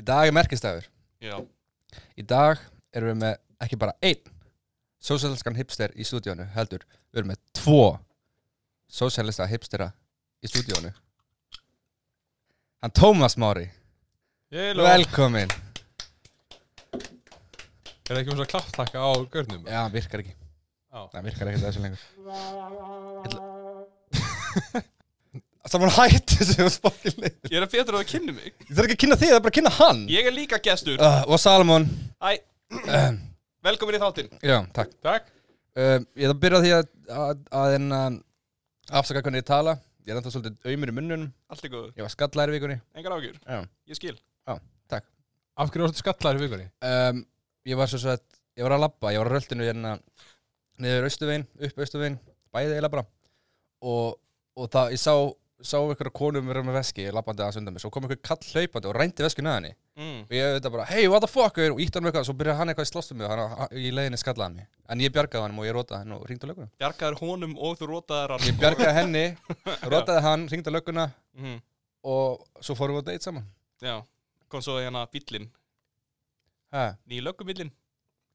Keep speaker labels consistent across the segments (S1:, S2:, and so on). S1: dag er merkistafur
S2: Já,
S1: Í dag erum við með ekki bara einn Sósialiskan hipster í stúdíónu heldur Við erum með tvo Sósialista hipstera í stúdíónu Hann Tómas Mári
S2: ég er vel
S1: Velkomin
S2: Er það ekki um svo klapptakka á görnum?
S1: Já, hann virkar ekki
S2: Já.
S1: Það virkar ekki þessu lengur Það var hætti sem var spokkinni Ég
S2: Ég er að betra að kynna mig
S1: þarf ekki að kynna þig, það er bara að kynna hann
S2: Ég er líka gestur
S1: uh, Og Salomon
S2: Æ, velkomin í þáttinn
S1: Já, takk
S2: Takk
S1: Um, ég ætla að byrja á því að, að, að en, um, afsaka hvernig ég tala. Ég er ennþá svolítið auðmur í munnunum.
S2: Allt er góður,
S1: Ég var skallæri vikunni.
S2: engar ágjur
S1: Já.
S2: Ég skil
S3: Af hverju varstu skallar í vikunni?
S1: Um, ég var svo svo að, ég var að labba, ég var á röltinu hérna niður austuveginn, upp austuveginn, bæðið eiginlega bara. Og, og það, ég sá, sá einhverja konu mér með veski, ég labbandi aðeins undan mér. Svo kom einhver kall hlaupandi og rændi veskinu að henni.
S2: mm.
S1: Og ég auðvitað bara, hey, what the fuck, og ítti hann með eitthvað, svo byrjaði hann eitthvað í slóstum mig og hann, hann- í leiðinni skallaði hann mig. En ég bjargaði hann og ég rótaði hann og ringdi á lögguna.
S2: Bjargaður honum og þú rótaðar hann
S1: Ég bjargaði henni, rótaði hann, ringdi á lögguna
S2: mm.
S1: og svo fórum við á date saman
S2: Já, kom svo hérna bíllinn
S1: ha,
S2: Ný löggumillinn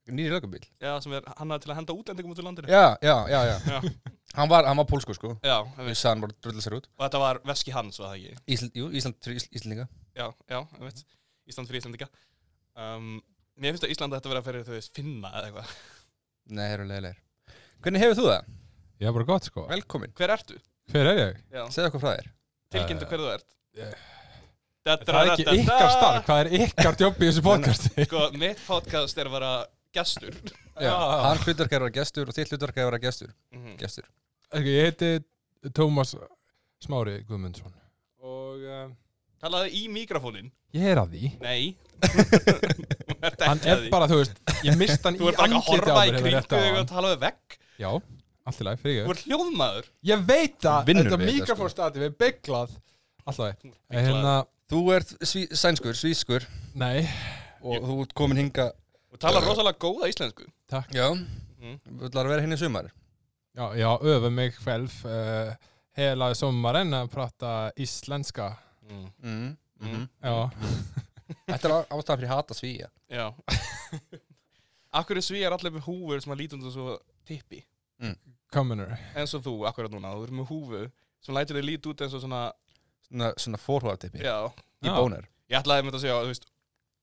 S1: nýri lögubíl
S2: Já, sem er hann til að henda útlendingum út úr landinu
S1: já, já, já, já.
S2: Já.
S1: hann var, hann var pólsku sko
S2: Já, ég
S1: við
S2: veist
S1: sagðum bara drullu sér út
S2: Og þetta var veski hans, var það ekki?
S1: Ísland, jú, Ísland, fyrir Ísl, Íslandinga
S2: Já, já, ég veit Ísland fyrir Íslandika um, Mér finnst að Íslanda þetta vera fyrir, þú veist, finna eða eitthvað
S1: nei, það eru leiðilegir hvernig hefur þú það?
S3: Ég er bara gott sko
S1: velkomin,
S2: Hver ertu?
S3: Hver er ég?
S2: Já,
S1: segð okkur frá þér
S2: tilkynntu
S3: Eh,
S2: hver þú ert
S3: eh,
S2: Da,
S3: Það er ekki ykkar starf, hvað er ykkar jobb í þessu podcasti?
S2: Sko, mitt podcast er að vera gestur
S1: já,
S3: Ah.
S1: hann hlutverk er að vera gestur og þitt hlutverk er að vera gestur,
S2: Mhm.
S1: gestur.
S3: Ok, Ég heiti Tómas Smári Guðmundsson og uh,
S2: Talaðu í mikrofónin
S3: ég er að því
S2: Nei
S3: Hann er bara, þú veist, ég mist hann í
S2: Þú ert bara ekki að
S3: andliti á
S2: horfa í
S3: mér hérna
S2: kringu
S3: rétt á
S2: þig og
S3: hann
S2: tala við vekk
S3: Já, allt í lagi,
S2: Þú
S3: fyrir ég
S2: ert hljóðmaður
S3: Ég veit
S1: Hann
S3: að
S1: vinnur
S3: þetta
S1: við þetta, sko.
S3: mikrofónstati við bygglað Alltaf
S2: Þú ert
S3: En
S2: byglaður.
S3: hérna,
S1: þú ert sví, sænskur, svískur
S3: nei,
S1: og þú ert komin hinga
S2: Og talar rosalega góða íslensku
S3: takk
S1: já,
S2: Mhm.
S1: Mm. þú ætlar að vera henni sumar
S3: Já, jag övar mig själv eh, hela sommaren att prata isländska.
S1: mm. Mm.
S2: Mhm.
S3: Ja.
S1: þetta er ástæðan fyrir að hata svíja
S2: Já Akkur er svíjar allir með húfur sem að lítum þú svo tippi
S3: Commoner.
S2: eins og þú, akkurat núna, þú ert með húfu sem lætur þig lít út eins og svona
S1: svona, svona forhóðartipi,
S2: Já,
S1: í
S3: Já.
S1: bónur
S2: ég ætlaði með þetta að segja, þú veist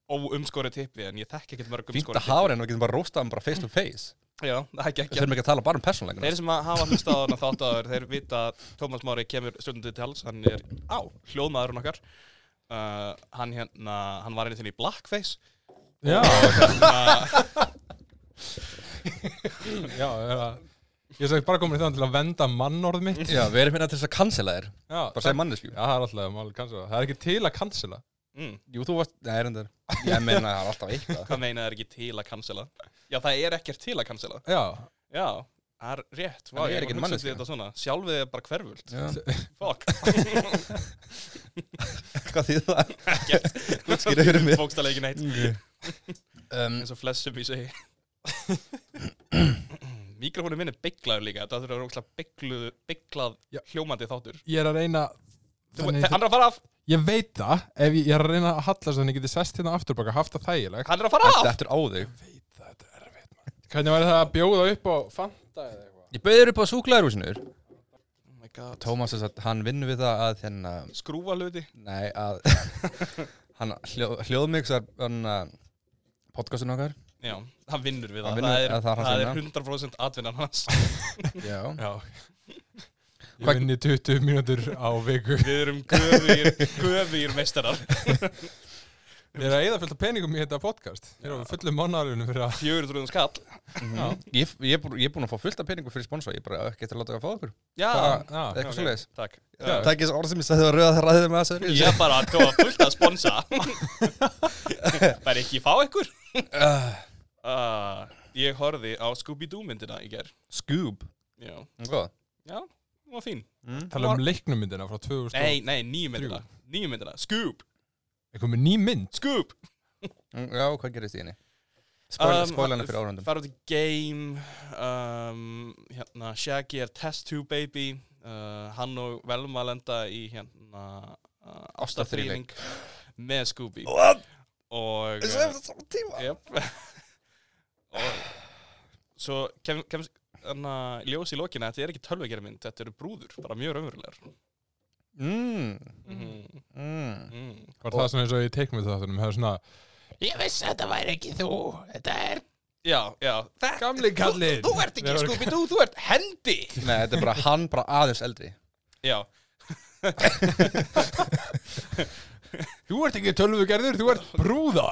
S2: óumskori tippi, en ég þekki ekkert mörg
S1: fínt
S2: umskori
S1: að hafa henni og getum bara róstað hann bara face to face
S2: Já, það er ekki
S1: Við þurfum ekki að tala bara um persónleikana
S2: Þeir sem að hafa hlustað á hana þátt áður, þeir vita að Tómas Mári kemur stundum til tals, hann er á, hljóðmaðurinn okkar. Uh, hann hérna, hann var einu sinni í blackface.
S3: Ja,
S2: Uh,
S3: hérna- ja, ja. Ég sagði bara komin þannig til að venda mannorð mitt.
S1: Já, við erum hérna til þess að cancela þér
S3: Já,
S1: Bara segja manneskju
S3: Já, það er alltaf mál cancela. Það er ekki til að cancela.
S2: mm,
S1: Jú, þú varst, nei, reyndar Ég meina það er alltaf eitthvað
S2: hvað meina þeir ekki til að cancela? Já, það er ekkert til að cancela.
S3: Já,
S2: Já, það er rétt. Vá,
S1: En ég er
S2: ég
S1: ekki manneskja.
S2: er manneskja. Þetta svona. Sjálfið er bara hverfult.
S1: Já,
S2: Fuck.
S1: hvað þýð það?
S2: Ekkert.
S1: Útskýra fyrir mér.
S2: Bókstaflega ekki neitt.
S1: Mm. Um,
S2: Eins og flest sem ég segi. Mikrofónu minn er bygglaður líka, það þurfa að vera ógslag byggluð, bygglað
S3: Já.
S2: hljómandi þáttur.
S3: ég er að reyna...
S2: Þú,
S3: Þannig,
S2: hann er að fara af,
S3: ég veit það, ef ég, ég er að reyna að hallast þannig að ég geti sest hérna aftur baka, haft það þægilegt.
S2: hann er að fara af!
S1: Þetta eftir á þig
S3: Það er erfitt, mann. Hvernig væri það að bjóða upp á Fanta eða eitthvað?
S1: Ég bauðir upp á súklaðurhúsinur
S2: Oh my god.
S1: Tómas þess að hann vinnur við það að hérna
S2: Skrúfa hluti.
S1: Nei, að Hann hljó, hljóðmixar hann, uh, podcastinu okkar
S2: Já, hann vinnur við
S1: Hann
S2: það.
S1: vinnur-
S2: það er,
S1: eða það er hans
S2: það er
S1: vinna.
S2: 100% atvinnan hans.
S1: Já
S3: Já. Ég
S1: Hvað-
S3: vinni 20 mínútur á viku.
S2: Við erum göfýr, göfýr meistarar.
S3: Ég er að eða fullt af peningum í þetta podcast. Ég er á fullum mannarunum fyrir að...
S2: 400 skall.
S1: Mhm. Ég, ég, er bú- ég er búin að fá fullt af peningur fyrir sponsor Ég er bara ekki eftir að láta það fá okkur
S2: Já,
S1: Bara-
S3: Já,
S1: Eitthvað
S2: ok,
S1: okay. svoleiðis
S2: takk.
S3: Já.
S2: Uh,
S1: Það er ekki þessi orð sem ég sagði að rauða ræðið með þessu
S2: Ég bara tóa fullt að sponsa. Bæri ekki fá ykkur.
S1: Ah.
S2: Uh, ég horfði á Scooby-Doo myndina í ger.
S1: Scoob
S2: Já,
S1: Góð
S2: já, hún var fín.
S3: tala um leiknumyndina frá 2000
S2: Nei, nei, nýju myndina. Nýju myndina. Scoop,
S3: er komið ný mynd
S2: scoop.
S1: Mm, Já, hvað gerist í henni? Spoil,
S2: Um,
S1: spoilana fyrir árandum
S2: fara út í game um, hérna, Shaggy er test tube baby uh, hann og Velma lenda í hérna uh,
S1: Ástarþríling.
S2: ástarþrýling með Scooby
S1: What?
S2: og uh,
S1: Þessi eftir saman tíma
S2: Jep Og svo kem, kemst Þannig að ljós í lokinu að þetta er ekki tölvugermynd, þetta eru brúður, bara mjög raunverulegar.
S1: mm,
S2: Mm.
S1: mm.
S2: Mm.
S3: Var það svona eins og ég teikmið þáttunum, hefur svona
S2: Ég vissi að þetta væri ekki þú, þetta er... Já, já. Þetta,
S3: Gamli kallinn.
S2: Þú, þú ert ekki
S3: Nei, var-
S2: Scooby-Doo, þú ert hendi!
S1: Nei, þetta er bara hann bara aðeins eldri
S2: Já,
S3: Þú ert ekki tölvugerður, þú ert brúða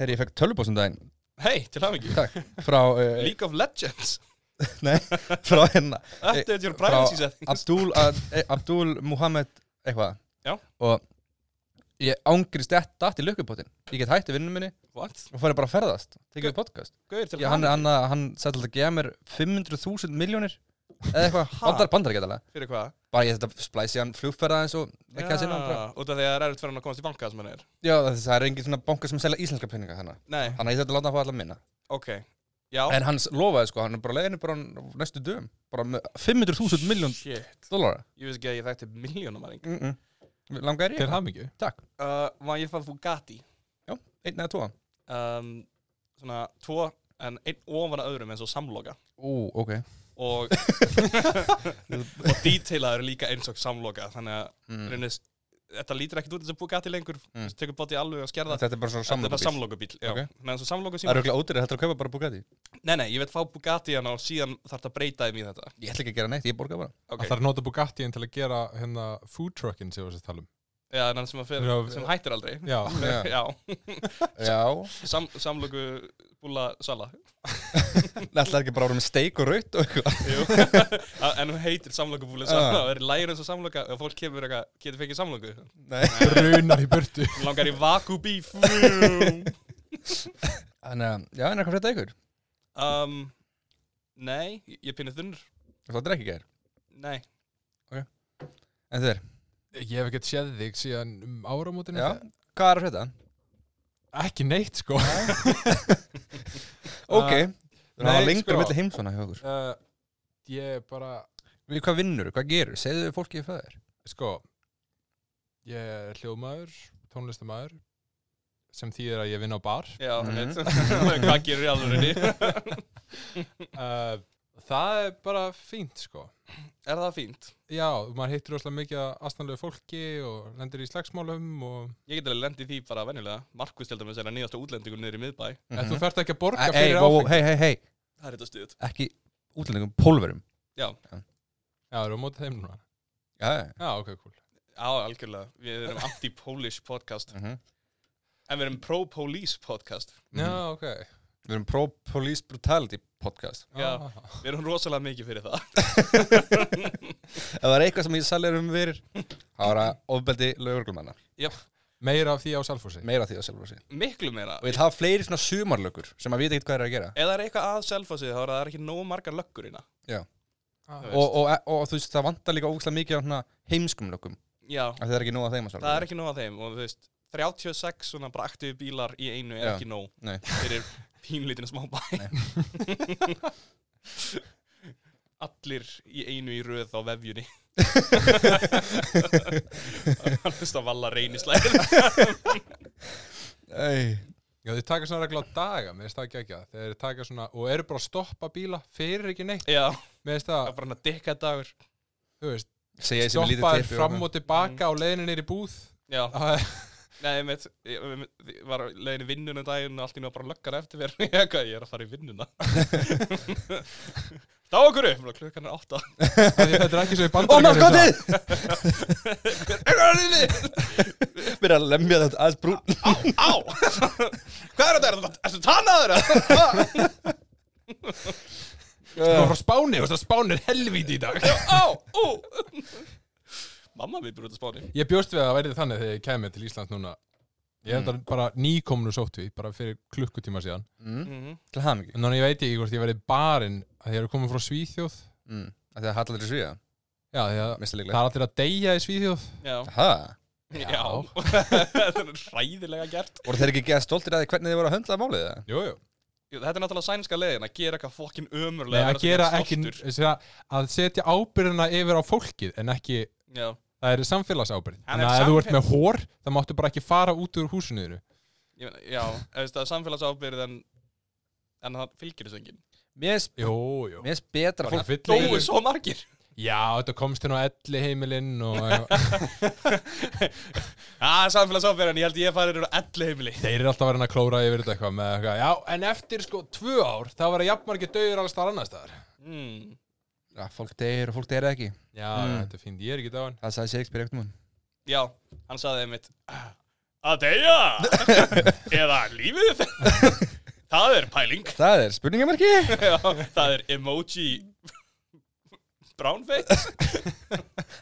S1: Herri, ég fekk tölubóð sem daginn
S2: hei, til hafingi.
S1: Takk Frá, uh,
S2: League of Legends,
S1: nei, frá hérna
S2: þetta er your privacy setting.
S1: Abdul, Ad- eh, Abdul Muhammad eitthvað
S2: Já.
S1: Og ég ángrist þetta í lukkupotin Ég get hætti vinnum minni
S2: What?
S1: og farið bara að ferðast Tekið upp podcast
S2: Gauðir til
S1: Já, hann, hann, hann sætti alltaf að gefa mér 500.000 miljónir Eða eitthvað, bandar, bandar ekki alveg
S2: Fyrir hvað?
S1: Bara ég þetta splæsi hann flugferða eins og ekki að sinna hann bara.
S2: út af því að það er erfitt fyrir hann að komast í banka sem hann er.
S1: Já, þess að það er engin svona banka sem selja íslenska peninga þannig
S2: Nei,
S1: Þannig að ég þetta láta að fá allar minna
S2: ok. Já.
S1: En hann lofaði sko, hann er bara leiðinu bara á næstu dögum Bara með 500.000 miljón
S2: Shit.
S1: dólara
S2: Ég veist ekki að ég þekkti miljónumæring.
S1: mm -mm. Langar
S3: Til
S1: ég?
S3: hamingju
S1: Takk,
S2: Uh, var ég fann Bugatti.
S1: einn eða tóa
S2: Um, svona tvo, en einn ofan að öðrum eins og samloka.
S1: Ú, ok
S2: Og, og detailaður líka eins og samloka. Þannig að
S1: mm.
S2: mm. þetta lítur ekkert út eins og Bugatti lengur.
S1: Mm.
S2: Mm. Tekur bóti alveg að skerða.
S1: Þetta er bara svona
S2: Þetta er
S1: samlokubíl
S2: samlokubíl, já.
S1: Ok.
S2: Með eins og samloku
S1: Það
S2: síma.
S1: eru ekki ódýrið, þetta er að kaupa bara Bugatti
S2: Nei, nei, ég veit fá Bugatti hann og síðan þarf það að breyta þeim í þetta.
S1: Ég ætla ekki að gera neitt, ég borga bara
S2: Ok.
S3: okay. Það er að nota Bugattiin til að gera hérna food truckin sem við þess að tala um
S2: Já, en hann sem, að fer,
S3: Já,
S2: sem hættir aldrei.
S3: Já,
S1: Já.
S2: Já,
S1: Já,
S2: Sam, samlöku búla sala
S1: þetta er ekki bara að vera með steik og raut og eitthvað
S2: Jú. En hún heitir samlöku búla sala
S1: Ah.
S2: og er lægir eins og samlöka og fólk kemur eitthvað, getur fengið samlöku
S1: Nei.
S3: brunar í burtu
S2: Langar í vakubíf
S1: Þannig að, já, en eitthvað frétta ykkur
S2: um, Nei, ég pinni þunnur
S1: Það er ekki gær
S2: Nei,
S1: En þér,
S3: Ég hef ekkert séð þig síðan um áramótinu
S1: já, hvað er að frétta?
S3: Ekki neitt sko
S1: Ok,
S3: Ah,
S1: það var
S3: nei,
S1: lengur
S3: sko.
S1: milli heimsona hjá okkur
S3: uh, Ég bara
S1: Við- Hvað vinnur, hvað gerur, segðu fólki frá þér
S3: Sko Ég er hljóðmaður, tónlistamaður sem þýðir að ég vinn á bar
S2: já,
S1: Mhm.
S2: mm -hmm. Hvað gerur í alvörinni?
S3: uh, Það er bara fínt sko
S2: er það fínt?
S3: Já, maður hittir rosalega mikið aðstæðanlegu fólki og lendir í slagsmálum og
S2: Ég get alveg lendið því bara venjulega Markus til dæmis er að nýjasta útlendingur niður í miðbæ
S3: En
S1: Mhm.
S3: þú fært ekki að borga
S1: Æ, Ei,
S3: fyrir
S1: vó,
S3: áfengi.
S1: hei, hei, hei,
S2: Það er þetta stuðt
S1: ekki útlendingum, pólverum
S3: Já, það eru á móti þeim núna.
S1: Já,
S3: Já, ok, cool.
S2: Já, algjörlega, við erum anti-polish podcast
S1: mhm.
S2: En við erum pro-police podcast
S1: Mhm.
S3: Já, ok.
S1: Við erum pro-police brutality podcast
S2: Já.
S3: Ah.
S2: Við erum rosalega mikið fyrir það
S1: Ef það er eitthvað sem ég salir um verir Það var að ofbeldi lögurglumanna
S3: Meira af því á Salfossi.
S1: Meira af því að sjálfur sig
S2: Miklu meira
S1: Og ég vil hafa fleiri svona sumarlögur sem að vita ekkert hvað er að gera
S2: Ef það er eitthvað að selfa sig þá er það ekki nógu margar löggur ína
S3: Ah.
S2: Já.
S1: og, og, og, og þú veist, það vantar líka ógæslega mikið á svona heimskum lögum
S2: Já,
S1: af því Það er ekki nóg að þeim að
S2: það
S1: sjálfur
S2: er ekki nóg að þeim og þú veist 36 svona bara aktífi bílar í einu er
S1: Já.
S2: ekki nóg
S1: Nei.
S2: fyrir pínlítinu smá bæ Allir í einu í röð á vefjunni Það er að valla reynislæð
S1: Ei.
S3: Já, þau taka svona regla á daga, mér finnst það ekki ekki að. Þeir taka svona, og eru bara að stoppa bíla, fyrir ekki neitt.
S2: Já,
S3: Mér finnst
S2: það
S3: það,
S2: er bara hann að dykka dagur
S3: þú veist,
S1: Segja ég sem er lítið Mhm.
S3: stoppa
S1: teppi
S3: þeir fram og tilbaka á leiðinni neyri búð.
S2: Já,
S3: Ah,
S2: nei, ég meitt, ég, ég, ég var leiðin í vinnunum daginn og allt í náttúrulega bara löggar eftir mér Ég eitthvað, ég er að fara í vinnuna Stá okkur upp, Bara klukkan er átta
S3: af því Þetta er ekki svo í
S1: Ó,
S3: bandaríkjunum.
S1: maskotið!
S2: Hvað er þetta?
S1: Byrja að lemja þetta aðeins brún
S2: Á! Hvað er þetta? Er þetta- Ertu tannaður?
S3: Það var frá Spáni, þú veist að Spáni er helvíti í dag.
S2: Á! Ú! Mamma mín brúið að spáni.
S3: Ég bjóst við að það væri þannig þegar ég kemi til Íslands núna. Ég hef þetta bara nýkominu sótt við, bara fyrir klukkutíma síðan.
S1: mm.
S2: Mm -hmm.
S1: Til hamingi
S3: En þannig ég veit ekki hvort ég verið barinn að ég er komin frá Svíþjóð.
S1: mm. Af því að hallar þessu svíða,
S3: Já, því að
S1: mista
S3: það
S1: líklega
S3: er allir að deyja í Svíþjóð.
S2: Já.
S1: Aha.
S2: Já. þetta er ræðilega gert.
S1: Voru þeir ekki geða stoltir að því hvernig þið voru að höndla málið það?
S3: Jú, jú.
S2: Jú, Þetta er náttúrulega sænska leiðin að gera eitthvað fokkin
S3: Nei,
S2: ömurlega.
S3: að gera ekki, að, að setja ábyrðina yfir á fólkið en ekki
S2: Já.
S3: Það er samfélagsábyrð.
S2: Hann er
S3: Þannig að ef þú ert
S2: samfél-
S3: með hór, það máttu bara ekki fara út úr húsinu þínu.
S2: Ég meina, já, eða veist það er samfélagsábyrð en, en það fylgir þessu enginn.
S1: Mér finnst-
S3: Jú, jú.
S1: mér finnst betra
S3: Fólk
S1: fólk
S3: vill
S2: Dóu
S3: ekki-
S2: svo margir.
S3: Já, þetta komst hérna á elli heimilinn og
S2: Já, samfélagsábyrð en ég held ég farir úr elli heimili.
S3: þeir eru alltaf verið að klóra yfir þetta eitthvað með eitthvað. Já, en eftir sko tvö ár, þá verða jafnmargir dögur alls þar annars staðar.
S2: Mm.
S1: ja, Fólk deyr og fólk deyr ekki
S3: Já,
S1: Mm.
S3: þetta er fínt. Ég er ekki dáin.
S1: Það sagði Shakespeare ekkert mun
S2: Já, hann saði einmitt "Ah, að deyja eða lífið það er pæling
S1: Það er spurningamarki
S2: Já, það er emoji brownface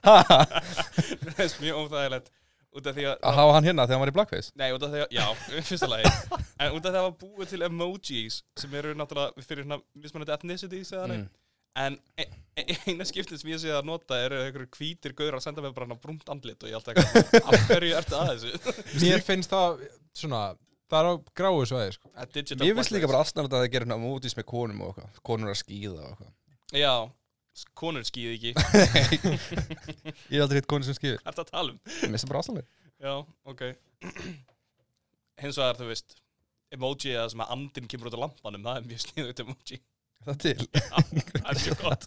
S1: Há
S2: það er mjög óþægilegt út af því að
S1: hann hérna þegar hann var í Blackface
S2: Nei, út af því að, já, í fyrsta lagi En út af því að það var búið til emojis sem eru náttúrulega fyrir hérna mismunandi ethnicities eða mm.
S1: Mm.
S2: En e e eina skiptið sem ég sé að nota eru einhverjur hvítir gaurar að senda mér bara hann brúnt andlit og ég alltaf eitthvað, af hverju ertu að þessu?
S3: Mér finnst það svona, það er á gráu svæði sko.
S2: Að digital
S1: Mér finnst líka
S2: blackface.
S1: bara aðstæðan að það gerir hérna mótis með konum og eitthvað Konur að skýða og eitthvað
S2: Já, s- konur skýði ekki
S1: Ég hef aldrei hitt konur sem skýður
S2: Ertu að tala um?
S1: Mér finnst það bara aðstæðan
S2: Já, ok Hins vegar, þú veist Emoji eða sem að andinn kemur út af lampanum Það er mjög sniðugt emoji
S1: Það til
S2: Það er mjög gott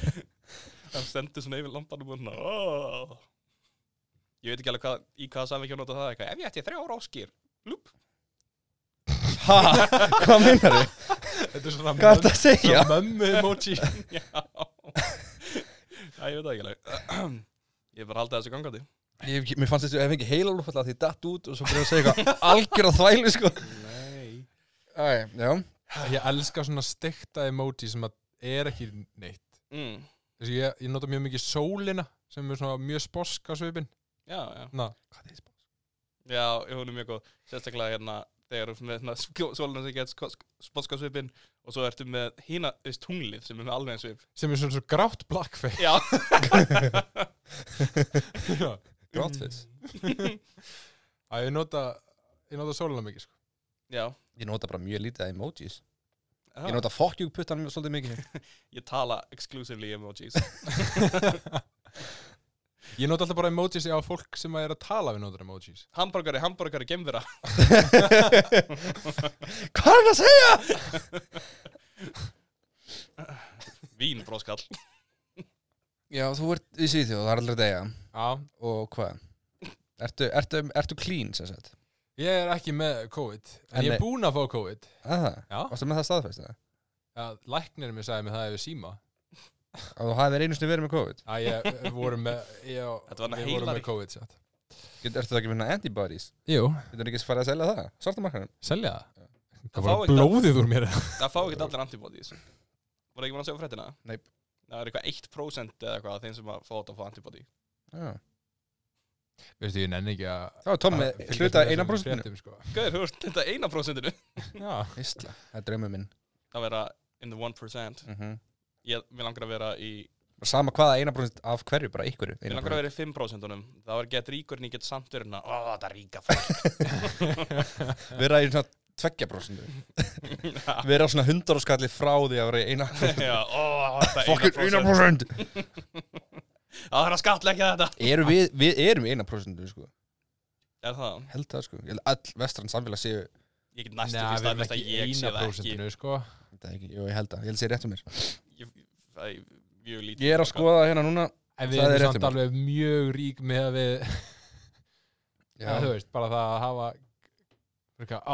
S2: Það stendur svona yfir lampanum og svona oh. Ég veit ekki alveg hvað, í hvaða samvikið að nota það eitthvað Ef ég ætti þrjá ráskýr Lúp
S1: Hæ? Hvað meinar þið?
S3: Þetta er svona
S1: Hvað er þetta að segja?
S3: mömmu emoji.
S2: Já Það ég veit það ekki alveg Ég er bara að halda þessu gangandi
S1: Ég, ég- mér fannst þessu, ef ekki heila lúfalla því ég datt út og svo byrjaði að segja eitthvað algjör að þvælu sko
S2: Nei
S1: Æ, já
S3: Ég elska svona stekta emoji sem að er ekki neitt.
S2: mm.
S3: Þessi, ég, ég nota mjög mikið sólina sem er svona mjög sposk á svipin.
S2: Já, já
S3: Na,
S1: Hvað er þetta?
S2: Já, hún er mjög góð Sérstaklega hérna þegar þú ert með hérna, skjó- sólina sem getur sposkasvipin og svo ertu með hína, þú veist, tunglið sem er með alveg eins svip
S3: sem er svona svo grátt blackface.
S2: Já,
S3: Já.
S1: Grátfis
S3: Að ég nota, ég nota sólina mikið sko.
S2: já
S1: Ég nota bara mjög lítið af emojis Ég
S2: Ég,
S1: nota fuck you puttan svolítið mikið
S2: ég tala exclusively emojis
S3: Ég nota alltaf bara emojis á fólk sem að er að tala við notar emojis.
S2: Hamburgari, hamburgari, gemvera
S1: Hvað er það að segja?
S2: Vín, bróskall
S1: Já, þú ert í Svíþjóð, það er aldrei degja
S3: Já.
S1: Og hvað? Ertu, ertu, ertu clean, sem sagt?
S3: Ég er ekki með COVID, en
S1: En
S3: ég
S1: nei.
S3: er búinn að fá COVID.
S1: Aha,
S3: Já.
S1: varstu með það staðfæst það?
S3: Já, læknirinn mér sagði mér það yfir síma.
S1: Að þú hafið einu sinni verið með COVID
S3: Að ég eh, voru með, ég,
S2: Þetta var hann
S3: við vorum
S2: heilari.
S3: með COVID satt.
S1: Get, Ertu það ekki með antibodies?
S3: Jú,
S1: Getur ekki farið að selja það? Svartamarkanum?
S3: selja það.
S2: Það fá
S3: Það var
S2: ekki-
S3: blóðið úr mér.
S2: Það fá ekki allir antibodies Var ekki mann að sjá fréttina?
S1: Nei.
S2: Það er eitthvað 1% eða eitthvað af þeim sem að fá þetta að fá antibody
S1: Já
S3: Veistu, ég nenni ekki að...
S1: Það var Tommi
S3: að fylgjast
S1: hluta
S3: með
S1: eina
S3: þessum
S1: brústinu
S3: fréttum, Sko.
S2: Gauður, þú ert þetta eina prósentinu
S3: Já.
S1: Ísla, það er draumur minn
S2: Það vera in the 1%
S1: mm -hmm.
S2: Ég, mér langar að vera í
S1: Sama hvaða eina brúst af hverju, bara ykkur
S2: Ég langar að vera í 5%-unum. Það var gett ríkur en ég get samt verið hérna. Ó, það er ríka fólk.
S1: Vera í svona tveggja brústinu Vera svona hundar og skalli frá því að vera í eina
S2: Já, ó, það er
S1: Fokkin eina
S2: 1%.
S1: brúst
S2: Það er að skatleggja þetta.
S1: Erum við, við erum í eina brústinu sko
S2: Er það?
S1: Held það sko, ég held all vestrann samfélag séu
S2: Ég get næstu
S3: Nei,
S2: því staðfest
S3: við erum ekki
S2: að ég sé
S3: eina
S2: það ekki.
S3: prósentinu, sko.
S1: Þetta er ekki, jú, ég held það, ég held sér rétt um mér
S2: Ég, það er mjög lítið.
S1: Ég er að skoða hérna núna
S3: En við
S1: Það er
S3: erum
S1: rétt
S3: samt
S1: um
S3: alveg mjög rík með að við, að þú
S1: Já,
S3: veist, bara það að hafa, fyrka, á,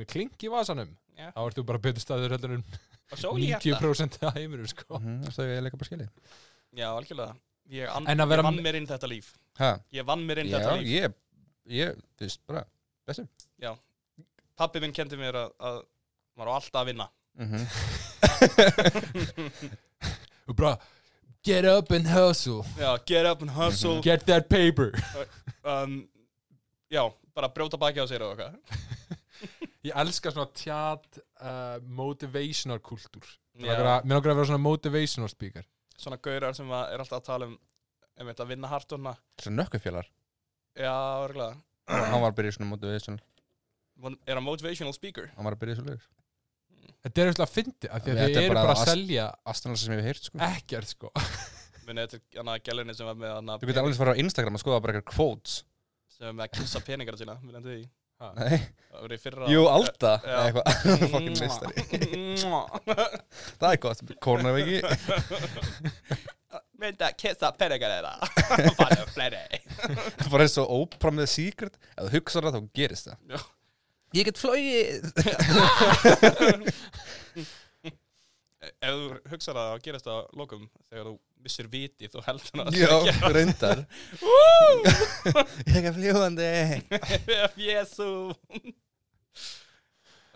S3: með klink í vasanum,
S2: Já.
S3: þá ertu bara betur staður heldur en
S2: Og sól í hjarta.
S3: 90% af heiminum, sko.
S1: Mhm, það er leika bara skilið
S2: Já, algjörlega. Ég, an,
S3: En að vera-
S2: ég vann mér inn þetta líf.
S1: Ha,
S2: Ég vann mér inn
S1: Já,
S2: þetta líf.
S1: ég, ég, þú veist, bara
S2: Pappi minn kendi mér að, að maður á alltaf að vinna.
S1: mhm.
S3: Og bara, get up and hustle,
S2: Já, get up and hustle.
S3: get that paper.
S2: um, já, bara brjóta baki á sér og eitthvað.
S3: Ég elska svona tjat uh, motivational kultúr. Mér langar
S2: Já,
S3: að- mig langar að vera svona motivational speaker.
S2: Svona gaurar sem að er alltaf að tala um, um að vinna hart og hana.
S1: Svo nökkufjallar
S2: Já, örgulega.
S1: Hann var að byrja í svona motivational
S2: Von- er hann motivational speaker
S1: Hann var að byrja í svona leik
S3: Þetta er eitthvað að fyndi, af því að
S1: Þetta
S3: þið
S1: er
S3: eru
S1: bara
S3: bara að
S1: ast-
S3: selja
S1: Astanlega sem ég hef heyrt sko
S3: ekkert, sko.
S2: Mér minni þetta er gælunni sem var með hana,
S1: Þú getur alveg að fara á Instagram að skoða bara eitthvað quotes
S2: sem var með að kissa peningara sína við lendum í því.
S1: Nei,
S2: Það voru í fyrra
S1: jú, Alda
S2: Já.
S1: Eða eitthvað, fucking meistari
S2: meistari
S1: Það er gott, konar við ekki
S2: Mynda að kissa peningara þeirra Bara fleiri
S1: bara eins og Oprah með Secret ef þú hugsar það þá gerist það
S2: Já.
S1: ég get flóið
S2: Ef þú hugsar að það gerist það á lokum þegar þú missir vitið og heldur hann að
S1: já, reyndar ég er fljóðandi
S2: Ef Jésu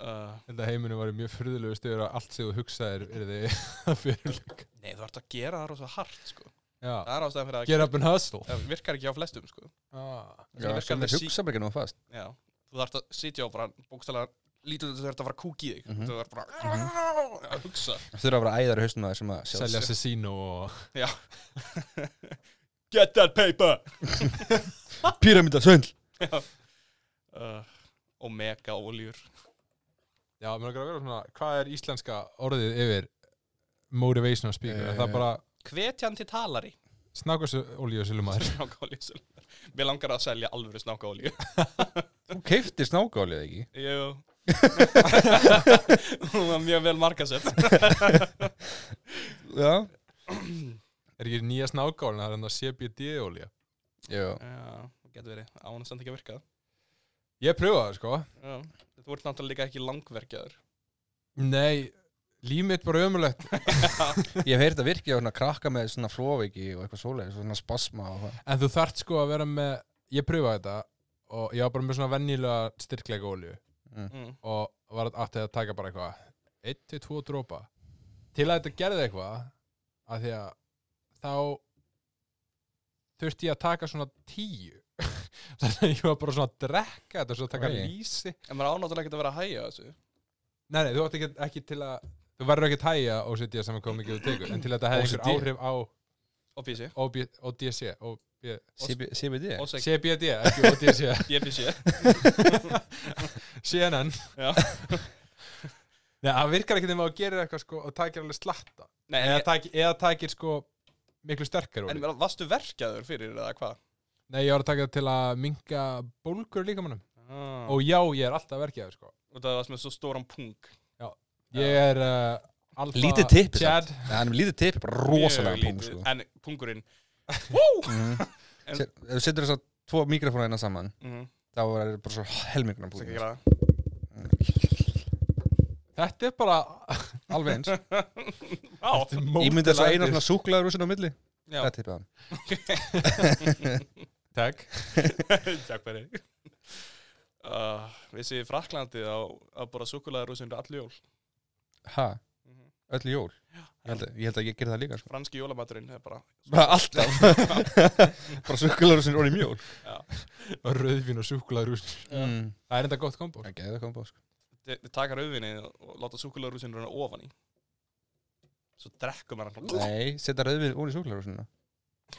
S2: uh,
S3: Þetta heiminu var mjög fyrðulegu stöður að allt sem þú hugsaðir er þið að fyrirleika.
S2: Nei, þú ert að gera það rosa hart sko.
S3: Já,
S2: Það er ástæðan fyrir að
S3: get up and hustle.
S2: það virkar ekki á flestum sko.
S3: Ah.
S2: Já, virkar
S1: sem
S2: alveg
S1: þeir hugsa bara ekki nú fast
S2: Já, þú þarft að sitja og bara bókstælega lítið út að þú þarft að fara að kúki þig
S1: Mhm.
S2: þú þarft bara að hugsa
S1: þú þurfa bara æðar í hausnum á þér sem að sjá
S3: Selja Cecino og...
S2: Get that paper
S1: píramíta svöndl
S2: uh, Omega oljur
S3: Já, mér er að vera svona, hvað er íslenska orðið yfir motivational speaker?
S1: Eh.
S3: Er það bara
S2: Hvetjandi talari
S3: snákasolíusilumar?
S2: Snákaolju Mér langar að selja alvöru snákaolju
S1: þú keifti snákálið ekki
S2: Jú Hún var mjög vel markasett
S1: já,
S3: Er ekki nýja snákálinn, það er hann að CBD-olía.
S1: já.
S2: Já, getur verið Án að senda ekki að virka
S3: Ég pröfaði það, sko.
S2: Já. Þú ert náttúrulega líka ekki langverkjaður
S3: Nei, líf mitt bara ömulegt.
S1: ég hef heyrt að virkja á svona krakka með svona flóveiki og eitthvað svoleið svona spasma og það
S3: En þú þart sko að vera með... Ég pröfaði þetta og ég var bara með svona vennilega styrkleika olíu.
S2: mm.
S3: og var aftur að taka bara eitthvað 1-2 dropa til að þetta gerði eitthvað að því að þá þurfti ég að taka svona 10 þannig að ég var bara svona að drekka þetta svo að taka
S1: Oj.
S3: lýsi
S2: En maður ánáttúrulega ekki að vera að hæja þessu
S3: nei, nei, þú átt ekki, ekki til að þú verður ekki að tæja OCD sem kom ekki þú tekur en til að þetta hefði einhver
S1: OCD?
S3: áhrif á
S2: Og bísi
S3: OB, ODC OB,
S1: CB CBD
S2: Og seg
S3: CBD, E, ekki ODC
S2: Ég bísi
S3: CNN
S2: Já.
S3: Nei, það virkar ekkert nema að gera eitthvað sko og takir alveg slatta
S2: Nei, en,
S3: eða,
S2: ég,
S3: tæk, eða tækir sko miklu sterkar
S2: en
S3: olíu.
S2: varstu verkjaður fyrir eða hvað?
S3: Nei, ég var að taka það til að minka bólgur líkamannum.
S2: Ah.
S3: Og já, ég er alltaf verkjaður sko.
S2: Og það var sem er svo stóran pung
S3: Ég er uh, alfa...
S1: Lítið tipp,
S3: Chad.
S1: það er lítið tipp bara rosalega
S2: Mjög
S1: pung
S2: lítið.
S1: sko.
S2: En pungurinn
S1: Mhm.
S2: En-
S1: Sér- ef þú setur þess að tvo mikrofónu eina saman
S2: mm,
S1: þá er það bara svo helmingna
S2: Skal
S1: púl
S2: ekki gera það
S3: Þetta er bara...
S1: alveg eins
S2: Já,
S1: Ímyndið svo eina svona súklaður úr sinna á milli
S2: já,
S1: Það tippið hann
S3: Takk.
S2: takk fyrir uh, Vissi í Fraklandi á, að bara súkulaður úr sinni allu jól
S1: Ha,
S2: mm
S1: öll jól Ég held að ég, held að ég gerði það líka sko.
S2: Mhm. Franski jólamaturinn er bara
S1: Bara alltaf Bara súklaður úr sinna orðið mjól
S3: Og rauðvín og súkulaður úr.
S1: mm.
S3: Það er enda gott kombo.
S1: Það er geðið að koma bá sko.
S2: Þi- Þið taka rauðvinni og láta súkulaður úr sinni rauðin ofan í Svo drekkum maður hann svona,
S1: Nei, setja rauðvin úr í súklaður úr sinna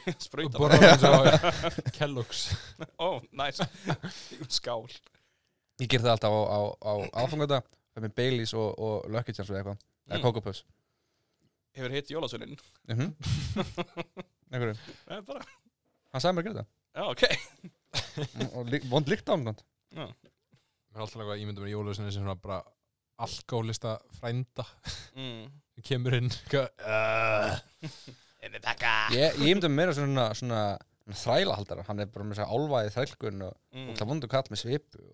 S3: Og
S2: Sprauta bara
S3: borða eins og Kellogg's.
S2: Ó, næs Skál
S1: Ég gerði það alltaf á, á, á aðfangata með Baileys og, og Lucky Charms eða eitthvað Eða
S2: mm.
S1: Coco Puffs
S2: Hefur hitt jólasvinin
S1: mm -hmm.
S2: Nei, bara
S1: Hann sagði mér að gera það
S2: Já, ok
S1: Mm, og lí- vond líkt á hann
S3: Mér er alltaf eitthvað ímyndum með jólusinu sem svona bara alkoholista frænda
S2: mm.
S3: sem kemur inn. eitthvað, Uh,
S2: Inni taka
S1: Ah. Ég, ég myndi meira svona, svona þrælahaldara, hann er bara með þess að álvaði þrælkun og, og
S2: mm.
S1: það vondu katt með svipu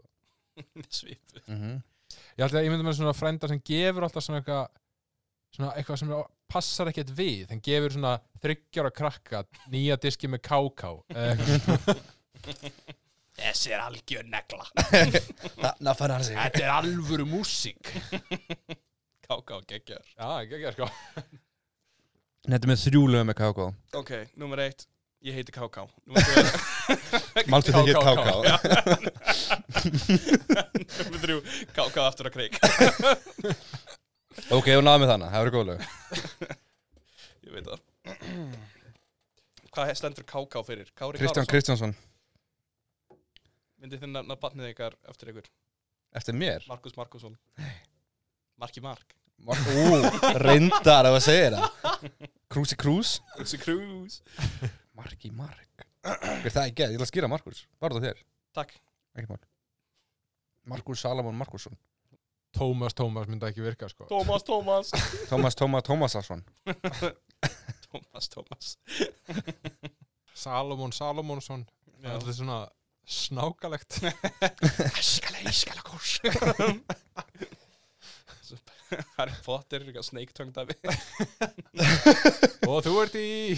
S2: Svitu
S1: mm
S3: Ég ætla að ég myndi með svona frænda sem gefur alltaf svona eitthvað svona eitthvað sem passar ekkert við hann gefur svona þryggjára krakka nýja diski með Eh, káká eða eitthvað.
S2: Þessi er algjör negla
S1: Það fann hann sig
S3: Þetta er alvöru músík
S2: Káká geggjar
S3: Já, ekki ekki sko
S1: Þetta er með þrjú lögum með KK
S2: Ok, nummer eitt Ég heiti Káká Númer tvö-
S1: Málstu þig hér KK
S2: Nummer þrjú Káká aftur að kreik
S1: Ok, þú náðu með þannig, það verður góð lög
S2: Ég veit það Hvað stendur Káká fyrir? Kári
S1: Kristján
S2: Kárason
S1: Kristjánsson,
S2: Myndið þið nafna batnið ykkar eftir ykkur
S1: eftir mér
S2: Markus Markusson Marki Mark
S1: Ú, reyndar ef að segja það Krúsi Krús
S2: Þessi krús
S1: Marki Mark Hver það ekki, ég ætla að skýra Markus Bara það þér,
S2: Takk
S1: ekki mál Markus Salamon Markusson
S3: Tómas Tómas myndi ekki virka sko
S2: Tómas, Tómas
S1: Tómas Tómas Tómasarsson
S2: Tómas, Tómas
S3: Salomon Salomonsson Það er alltaf svona snákalegt
S2: Æskala, æskala, kors Harry Potter, eitthvað snake tongue dæmi
S3: Og þú ert í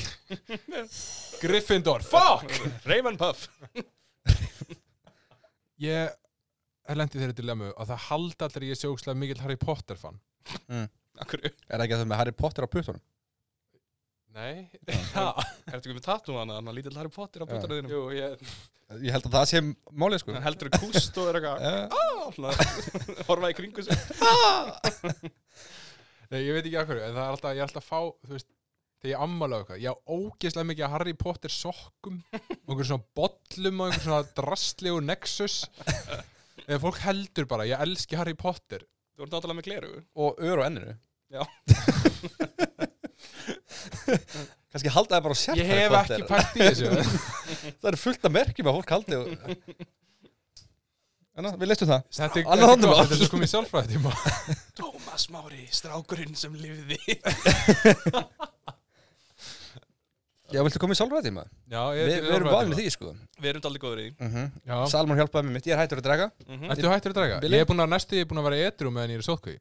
S3: Gryffindor Fuck!
S2: Raven Puff
S3: Ég er lendið þeirri dilemmu að það halda allir ég sé ógstlega mikill Harry Potter fan
S2: Akkur,
S1: Er það ekki að það með Harry Potter á puttunum?
S3: Nei
S2: ertu ekki með tattoo hana, hann lítill Harry Potter á bútana þínum
S3: Jú, ég
S1: Ég held að það sé málið sko
S2: Hann heldur kúst og er eitthvað
S1: Eh,
S2: "Ah", svona, Horfa í kringu sig
S3: Nei, ég veit ekki af hverju, en það er alltaf, ég er alltaf að fá, þú veist, þegar ég ammála eitthvað, ég á ógeðslega mikið af Harry Potter sokkum, og einhver svona bollum og einhver svona drastlegu nexus, eða fólk heldur bara, ég elski Harry Potter,
S2: Þú ert náttúrulega með gleru
S1: Og ör á enninu
S2: Já.
S1: Kannski halda það bara á sér
S3: ég hef ekki pælt í þessu,
S1: Það eru fullt af merkjum að fólk haldi og... En að, við leistum það
S3: þetta er
S1: Annað
S3: þetta er
S1: handum
S3: gott,
S1: allt.
S3: þetta er svo komið sjálfræði tíma.
S2: Tómas Mári, strákurinn sem lifði
S1: Já, viltu koma í sálfræði maður?
S3: Já,
S1: Við,
S3: ég er til
S1: við erum
S3: sjálfræði
S1: báðið
S3: tíma.
S1: því sko
S2: Við erum aldrei góður í því
S1: mm
S3: Já,
S1: Salmon hjálpaði mér mitt, ég er hættur að draga
S2: Mhm.
S3: ertu hættur að draga?
S1: Billy?
S3: Ég er búin að, næstu ég er búin að vera edru meðan ég er í sótkví.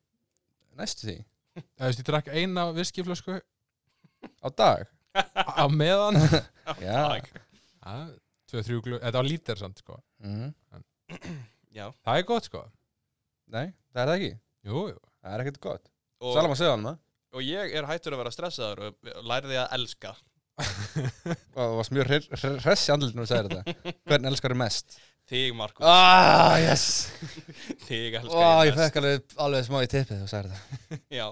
S1: Næstu því,
S3: Þú veist, ég drakk eina viskiflösku
S1: á dag
S3: á meðan,
S1: Já
S2: Takk.
S3: Já, tvö, þrjú glöð, þetta var lítir samt, sko.
S1: Mhm.
S2: Já,
S3: Það er gott, sko.
S1: Nei, það er það ekki
S3: Jú, jú.
S1: Það er ekkert gott
S2: og,
S1: Salmon segði hann maður
S2: og ég er hættur að vera stressaður og lærði að elska
S1: Og það varst mjög hress- hress hress í andlutinu og segði þetta Hvern elskar mest?
S2: Þig, Markus,
S1: Ah, yes
S2: þig elska
S1: Ó, ég
S2: best.
S1: fekk alveg, alveg smá í tippið og segði þetta
S2: Já,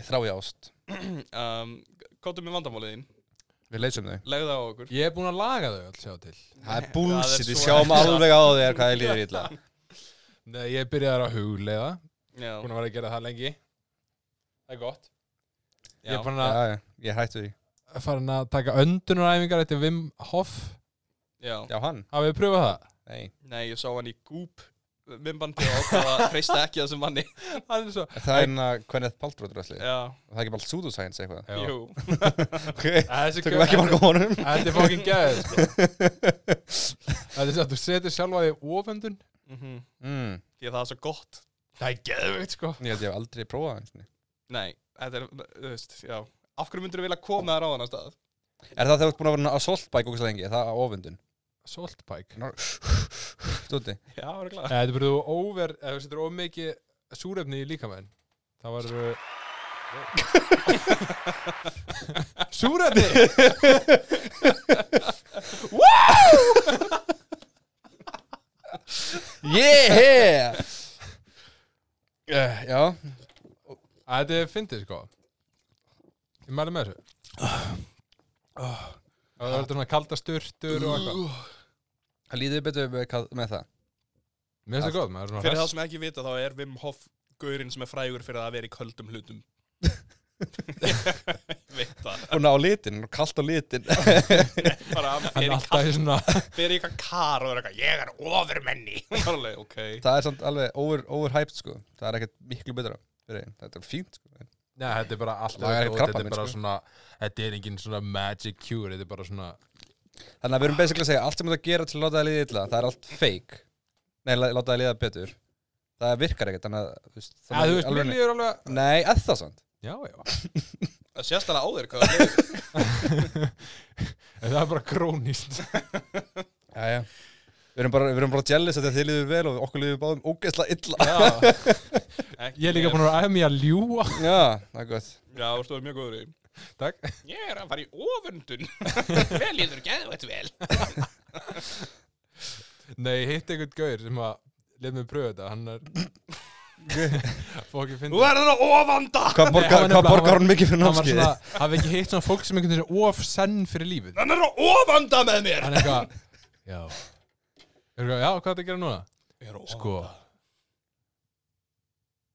S1: Ég þrá ég ást
S2: um, kóttu með vandamálið þín
S1: Við leysum þau
S2: Legðu það á okkur
S3: Ég er búin að laga þau alls hjá til.
S1: Það er
S2: Það
S1: búlsitt,
S2: er
S1: við
S2: svo
S1: sjáum
S2: ekki.
S1: alveg á þér hvað ég líður illa
S3: Nei, ég byrjaði að hugleiða
S2: Já,
S3: Búin að vera að gera það lengi Það er gott Ég
S2: já.
S3: er farin að,
S1: Já, já, ég er hættur því
S3: farin að taka öndunaræfingar eftir Wim Hof
S2: já.
S1: Já, hann
S3: Hafið þið pröfað það?
S1: Nei
S2: Nei, ég sá hann í Goop Vimbandi og ákvað að treysta ekki þessu manni
S3: Það er svo
S1: Það er hérna Kenneth Paltrow drasli
S2: Já,
S1: Það er ekki bara pseudoscience eitthvað
S3: Já.
S2: jú
S1: Ok,
S3: Þessi
S1: tökum ekki marka honum
S3: Þetta er fókin gæðið sko. Þetta er svo að þú setur sjálfa þig ofendun
S2: Mhm.
S1: mm,
S2: Því að það er svo gott
S3: Það er geðveikt sko
S1: Ég held ég hef aldrei prófað það einu sinni.
S2: Nei, þetta er, þú veist, já Af hverju myndirðu vilja koma þær á hann að stað?
S1: Er það þegar þú ert búin að vera á soltbæk okkur svo lengi? Er það á ofundun?
S3: Saltpæk
S1: Stúti
S2: Já, það er
S3: Nei, Þetta er bara þú over Ef þú setur of mikið súrefni í líkamenn Það var uh, Súrefni
S1: Yeah uh, Já
S3: Þetta er fyndið sko Ég mæli með þessu Það verður svona kalda sturtur og eitthvað
S1: Það líður betur með, hvað- með það
S3: Mér finnst það gott, maður er
S2: Fyrir
S3: svona
S2: það sem ekki vita þá er Wim Hof Gaurinn sem er frægur fyrir að vera í köldum hlutum Ég Veit það
S1: Og ná litin, kalt á litin
S2: Bara hann
S3: Hann
S2: fer
S3: er
S2: í
S3: alltaf í svona
S2: kall- fer í eitthvað kar og er eitthvað Ég er ofurmenni Bara alveg, ok
S1: Það er samt alveg over, overhyped sko Það er ekkert miklu betra fyrir einn Þetta er fínt sko
S3: Nei, þetta er bara alltaf
S1: Lagar eitt
S3: gott,
S1: krabbamein,
S3: Þetta er bara
S1: sko.
S3: svona Þetta er engin svona magic cure Þetta er bara svona
S1: Þannig að við erum basically að segja Allt sem þú ert að gera til að láta það líða illa Það er allt fake Nei, lá- láta það líða betur Það virkar ekkert Þannig að þú veist,
S3: Já, þú veist, mér
S1: alveg,
S3: líður alveg
S1: Nei, eða það samt
S3: Já, já
S2: Það sést alveg á þér hvað það er
S3: En það er bara krónist
S1: Jæja Við erum bara, við erum bara jealous að þið líður vel og okkur líður báðum ógeðslega illa
S2: Já Ekki
S3: Ég
S2: meir.
S3: er líka búin að æfa mig að ljúa
S1: Já, það er gott
S2: Já, þú stóður mjög góður í
S3: Takk
S2: Ég er að fara í ofundun Vel, ég þurr gæðu þetta vel
S3: Nei, ég hitt einhvern gaur sem að Leð mig pröfa þetta, hann er Fókin fyndið
S2: Þú verður að ofanda
S1: Hvað
S3: Nei, hann
S1: borgar,
S3: var
S1: hvað
S3: nefnilega-
S1: borgar hún mikið fyrir
S3: Hann var
S1: námskeiði?
S3: svona, hafi ekki hitt svona fólk sem einhvern veginn er of senn fyrir lífið
S2: Hann er að ofanda með mér
S3: hann er eitthvað já er eitthvað, já, hvað
S2: Sko.
S3: er það að Sko, gera núna?
S2: Ég er að
S3: sko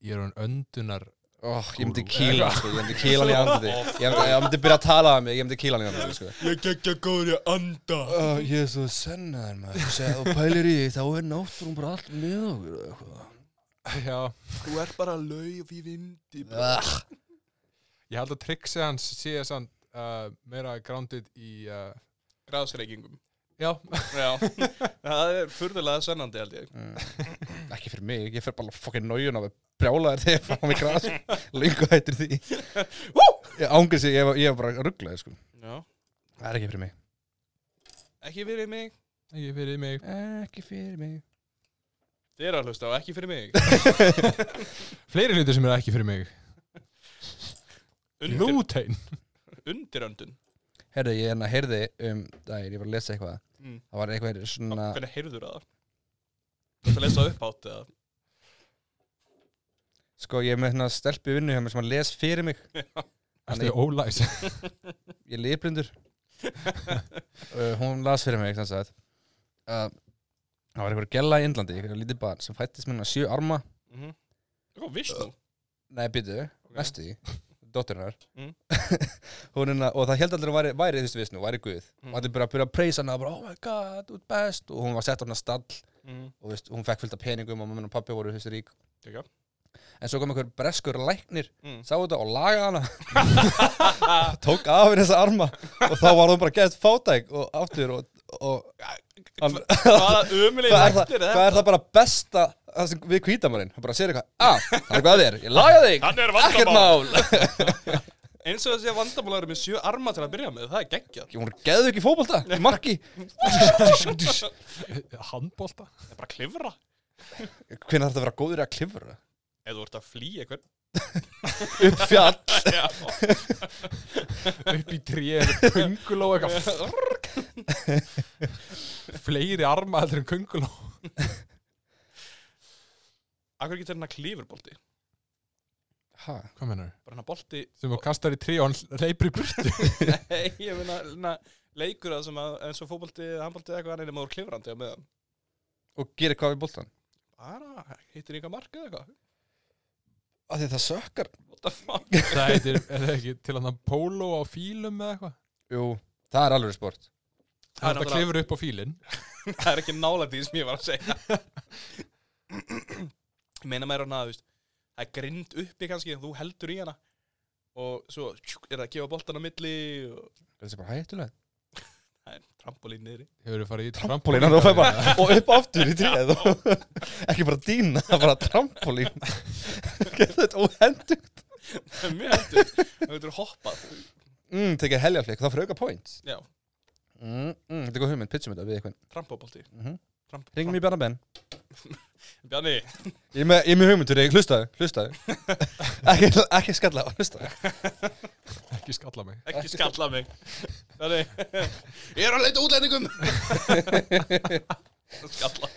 S3: ég er á en öndunar
S1: oh, Ég myndi kýla hann, sko, ég myndi kýla hann í andliti Ég myndi, ég myndi byrja að tala um mig, ég myndi kýla hann í andliti sko.
S2: Ég gekkja góður í anda
S1: uh, Ég er svo sennaður maður Seg, og pælir í því, þá er náttúrum bara allt með okkur eða eitthvað.
S3: Já,
S2: Þú er bara lauf í vindi
S1: Ah,
S3: ég held að tryggsið hans sé sann uh, meira grounded í uh,
S2: Ráðsreikingum
S3: Já,
S2: Já, það er furðulega sennandi held ég
S1: mm, Ekki fyrir mig, ég fer bara fokkin nájun af að brjála þér þegar ég fá mig græs Lengu hættir því Wú! Ég ángri sig, ég var- ég var bara rugglaði sko.
S2: Já,
S1: Það er ekki fyrir mig
S2: ekki fyrir mig
S3: ekki fyrir mig
S1: Ekki fyrir mig
S2: Þið eru að hlusta á ekki fyrir mig
S3: Fleiri hluti sem eru ekki fyrir mig
S2: Undir,
S3: Lútein
S2: Undiröndun
S1: Herði, ég hérna heyrði um daginn, ég var að lesa eitthvað
S2: Mm.
S1: Það var eitthvað svona
S2: Hvernig heyrður það? Þú ert að lesa upp átt eða
S1: Sko, ég er með hérna stelpu í vinnu hjá mér sem að les fyrir mig
S3: Erstu ólæs
S1: Ég er liðblindur uh, Hún las fyrir mig, þannig að uh, Það var eitthvað gella í Indlandi, eitthvað lítið barn sem fættist með hérna sjö arma
S2: Mhm. Hvað vissst þú?
S1: Nei, byrju, næstu því Dótturinnar
S2: Mm.
S1: Hún hérna, og það held allir að væri, væri þú veist visnu, væri guð
S2: Mm.
S1: Og allir bara að byrja að preysa hana, bara, oh my god, þú ert best Og hún var sett á hana stall
S2: Mhm.
S1: og veist, hún fekk fullt af peningum og mamma og pappi voru þessi rík
S2: Geggjað.
S1: en svo kom einhver breskur læknir
S2: Mm.
S1: sá þetta og lagaði hana tók af henni þessa arma og þá var hún bara gett fátæk og aftur og, og hann,
S2: Hvaða umilið
S1: hvað, er það,
S2: hættir er
S1: hvað er það bara besta það sem við kvítamörinn, hann bara sér eitthvað ah, það er hvað þér, ég laga þig
S2: Hann er
S1: ekkert
S2: vandamál
S1: mál,
S2: Eins og þessi að vandamál eru með sjö arma til að byrja með Það er geggjað
S1: hún geðu ekki fótbolta í marki,
S3: Handbólta
S2: Það er bara að klifra
S1: hvernig þarf þetta að vera góður í að klifra
S2: Ef þú ert að flýja eitthvað
S1: upp fjall,
S2: Já.
S3: Upp í trér, kunguló eitthvað Fleiri arma heldur en kunguló
S2: Akkur getur hérna klifurbolti
S1: ha,
S3: Hvað menur?
S2: Bara hérna bolti
S3: Sem þú kastar í tré og hann reypir í burtu
S2: Nei, ég meina hérna, leikur að sem að eins og fótbolti, eða handbolti eða eitthvað annað nema þú ert klifrandi á meðan
S1: og gerir hvað við boltan
S2: Bara, hittir ykkar markið eða eitthvað
S1: af því það sökkar
S2: What the fuck
S3: Það heitir, er það ekki til að það póló á fílum eða eitthvað?
S1: Jú, það er alveg sport
S2: Það er
S3: Það
S2: náttúrulega-
S3: klifur upp á fílinn
S2: það er ekki nálægt því sem ég var að segja ég meina meira hann að þú veist, það er grind uppi kannski þú heldur í hana og svo tjúk, er það að gefa boltan á milli og
S1: Það er bara hættulegt
S2: það er trampolín niðri
S3: Hefur þú farið í
S1: Trampolín, og þú fær bara Og upp aftur í tríð Ekki bara dýna, bara trampolín Gerðu þetta óhendu
S2: það er mjög heldur, það getur hoppað
S1: mm, Tekið heljaflik, það fyrir auka points
S2: já,
S1: mm, mm, Þetta er góð hugmynd, pitchum þetta við eitthvað
S2: trampobolti
S1: mm -hmm.
S2: Tramp,
S1: Ringum í Bjarna Ben
S2: tramp- Bjarni,
S1: Ég er með, ég er með hugmyndur, ég hlustaðu, hlustaðu ekki, ekki skalla, hlustaðu
S3: Ekki skalla mig
S2: ekki skalla mig Bjarni ég er að leita útlendingum skalla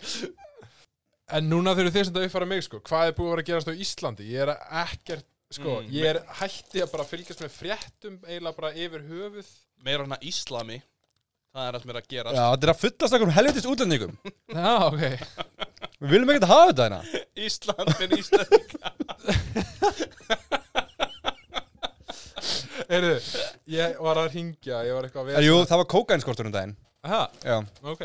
S3: En núna þurfið þið sem það uppfæra mig sko Hvað er búið að vera að gerast á Íslandi? Ég er ekkert, sko
S2: Mm.
S3: Ég er hætti að bara fylgjast með fréttum Eiginlega bara yfir höfuð
S2: meira hann að íslami það er allt meira að gera
S1: Já, þetta er að fullast okkur um helvitist útlendingum
S3: Já, ok
S1: Við viljum ekkert hafa þetta hérna
S2: Ísland fyrir Ísland
S3: Heyrðu, ég var að ringja, ég var eitthvað að
S1: Eh, Jú, það var kókainskortur um daginn
S3: Aha,
S1: Já,
S3: ok.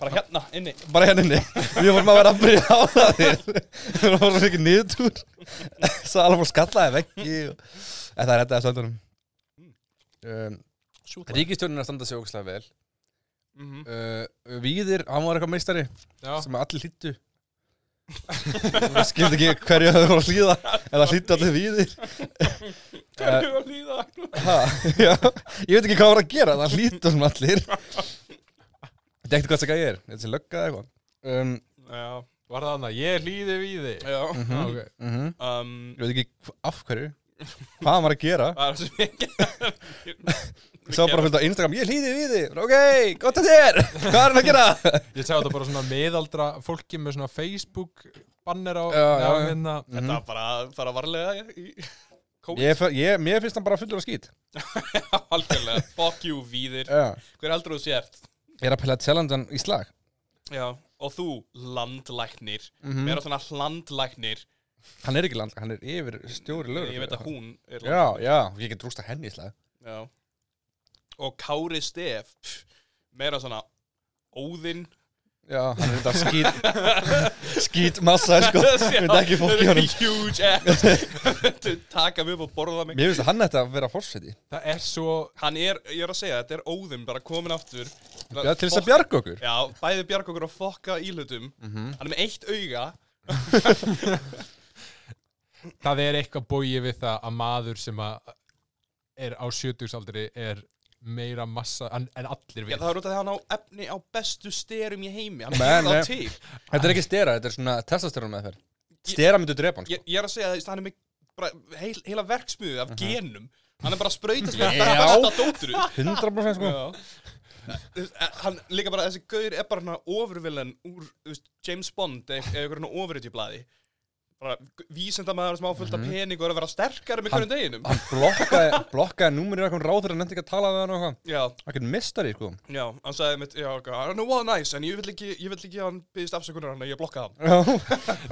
S2: bara hérna, inni
S1: bara hérna inni Við vorum að vera að byrja á það þér Við vorum að vera ekki niðurtúr Sala fór skallaði veggi og... En það er þetta að söndunum um,
S2: Sjúkla.
S1: Ríkistjónin er að standa sig ógæslega vel
S2: Mm -hmm.
S1: uh, Víðir, hann var eitthvað meistari
S3: Já,
S1: sem allir hlýttu Ég skildi ekki hverju þau voru að hlýða en það hlýttu allir víðir
S2: Hverju var líða?
S1: ha, já, Ég veit ekki hvað var að gera það hlýttu sem allir Þetta er ekkert hvað það gæði er Þetta er lögga eða eitthvað um,
S2: Já,
S3: var það annað, ég hlýði við þig.
S2: já.
S3: Já, ok.
S1: mm
S2: Um,
S1: Ég veit ekki hv- af hverju Hvað hann var að gera
S2: það er sem ég
S1: Ég sá bara fullt á Instagram Ég hlýði við þig Ok, gott að þér Hvað er hann að gera
S3: Ég sagði þetta bara svona meðaldra fólki með svona Facebook banner á,
S1: Já, já,
S3: á
S1: já.
S3: hérna.
S2: Þetta
S1: Mhm.
S2: var bara að fara varlega í
S1: ég, fer- ég, Mér finnst hann bara fullur af skít
S2: algjörlega Fuck you, víðir
S1: Já.
S2: Hver heldur þú sért?
S1: Ég er að pæla að challenge hann í slag
S2: Mhm. Já Og þú, landlæknir mm -hmm. Mér á svona landlæknir
S1: Hann er ekki landlæk, hann er yfir stjóri lögur
S2: Ég veit að hún er
S1: Já, já, ég get rústa henni í slag
S2: Já. Og Kári Stef pff, Meira svona Óðinn
S1: Já, hann er þetta skýt Skýt massa, sko Ég
S2: Þetta
S1: myndi ekki fólk í honum
S2: Huge ass Taka mig upp og borða mig
S1: Mér finnst að hann ætti að vera fórseti
S3: Það er svo
S2: Hann er, ég er að segja, þetta er óðinn bara komin aftur
S1: Já, til þess að bjarga okkur
S2: Já, bæði bjarg okkur að fokka íhlutum
S1: Mhm.
S2: Hann er með eitt auga
S3: Það er eitthvað bóið við það að maður sem að er á 70 aldri er meira massa en, en allir
S2: Já,
S3: við
S2: það er út af því að hann á efni á bestu sterum í heimi Hann
S1: Men,
S2: er
S1: nei.
S2: þá til
S1: Þetta er ekki stera, þetta er svona testosterón með þér Stera myndi drepa hann, sko.
S2: ég, ég er að segja að hann er með bara, heil, heila verksmiðu af genum Hann er bara að sprauta
S1: Mhm. Já.
S2: með besta dóturu
S1: 100% sko
S2: Þú veist, eh, Hann líka bara, þessi gaur er bara hann ofurvillan úr þú veist, James Bond eða eða einhvern ofurutjublaði bara vísindamaður sem á fullt af pening og er að vera sterkari með hverjum deginum
S1: Mhm. Hann blokkaði, blokkaði númur í eitthvað ráður en nefndi ekki að tala við hann og eitthvað
S2: Já,
S1: Það getur mistari, sko
S2: já, hann sagði mitt, já, ok, I know what nice en ég vill ekki, ég vill ekki að hann byggðist afsökunar hann að ég blokkaði hann
S1: Já,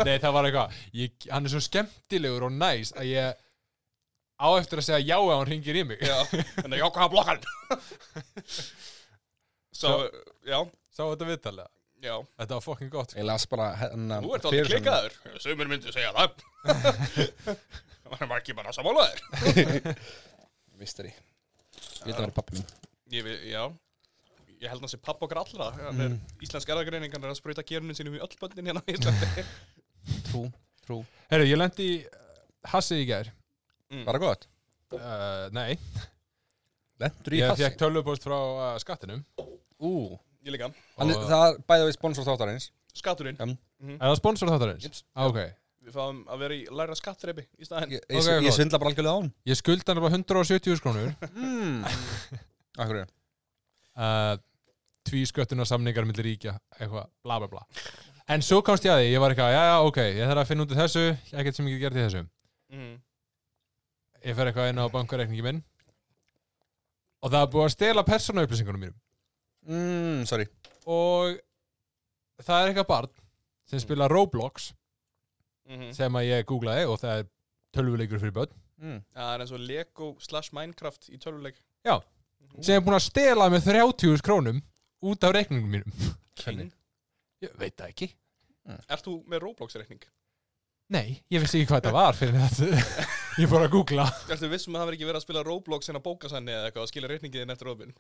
S3: Nei, það var eitthvað ég, Hann er svo skemmtilegur og næs að ég á eftir að segja já ef hann ringir í mig
S2: Já, en það, já, hvað hann blokkaði hann Svo, já,
S3: Sá þetta viðtalega
S2: já
S3: Þetta var fokkin gott sko.
S1: Ég las bara hérna
S2: Þú ert aldrei
S1: fyrirsögn.
S2: klikkaður. Sumir myndu segja það. Það var ekki bara samálaður.
S1: Mistari Ég veit að það er pappi mín
S2: Ég við, já. Ég held að hans er papp okkar allra. Hann er íslensk erðagreining, hann er að sprauta gerunum sínum í öll böndin hérna á Íslandi.
S1: Trú, trú
S3: Herru, ég lendi í uh, Hassi í gær
S1: Var það gott?
S3: uh, Nei,
S1: Lendur í
S3: ég
S1: hassi
S3: fekk tölvupost frá uh, skattinum
S1: Ú
S2: Ég líka.
S1: Hann,
S3: Og-
S1: Það er bæðið við sponsor þáttarins
S2: Skatturinn.
S3: Er það sponsor þáttarins?
S1: Jips.
S3: Ah, ok
S2: Við fáum að vera í læra skattreipi í staðinn.
S1: Ég, ég,
S3: Ok,
S1: ég
S3: gott.
S1: svindla bara algjörlega á hann
S3: Ég skulda hann bara 170 skrónur Hmm.
S1: mm. Akkur er
S3: uh, Tvísköttuna samningar millir ríkja Eitthvað, bla bla bla En svo komst ég að því, ég var eitthvað, já já ok Ég þarf að finna út af þessu, ekkert sem ég get gert í þessu
S2: Mm.
S3: Ég fer eitthvað inn á bankareikningi minn Og það er búið að stela persónaupplýsingunum mínum
S1: mm, Sorry
S3: Og það er eitthvað barn sem spila Roblox
S2: Mhm.
S3: sem að ég googlaði og það er tölvuleikur fyrir börn
S1: mm.
S2: Það er eins og Lego slash Minecraft í tölvuleik.
S3: sem er búin að stela með 30 krónum út af reikningum mínum
S2: King.
S3: Ég veit það ekki
S2: Ert þú með Roblox-reikning?
S3: Nei, ég vissi ekki hvað þetta var fyrir þetta Ég fór að googla
S2: Ertu vissum að það verið ekki verið að spila Roblox en að bóka sann eða eitthvað og skilja reikningin eftir ofin?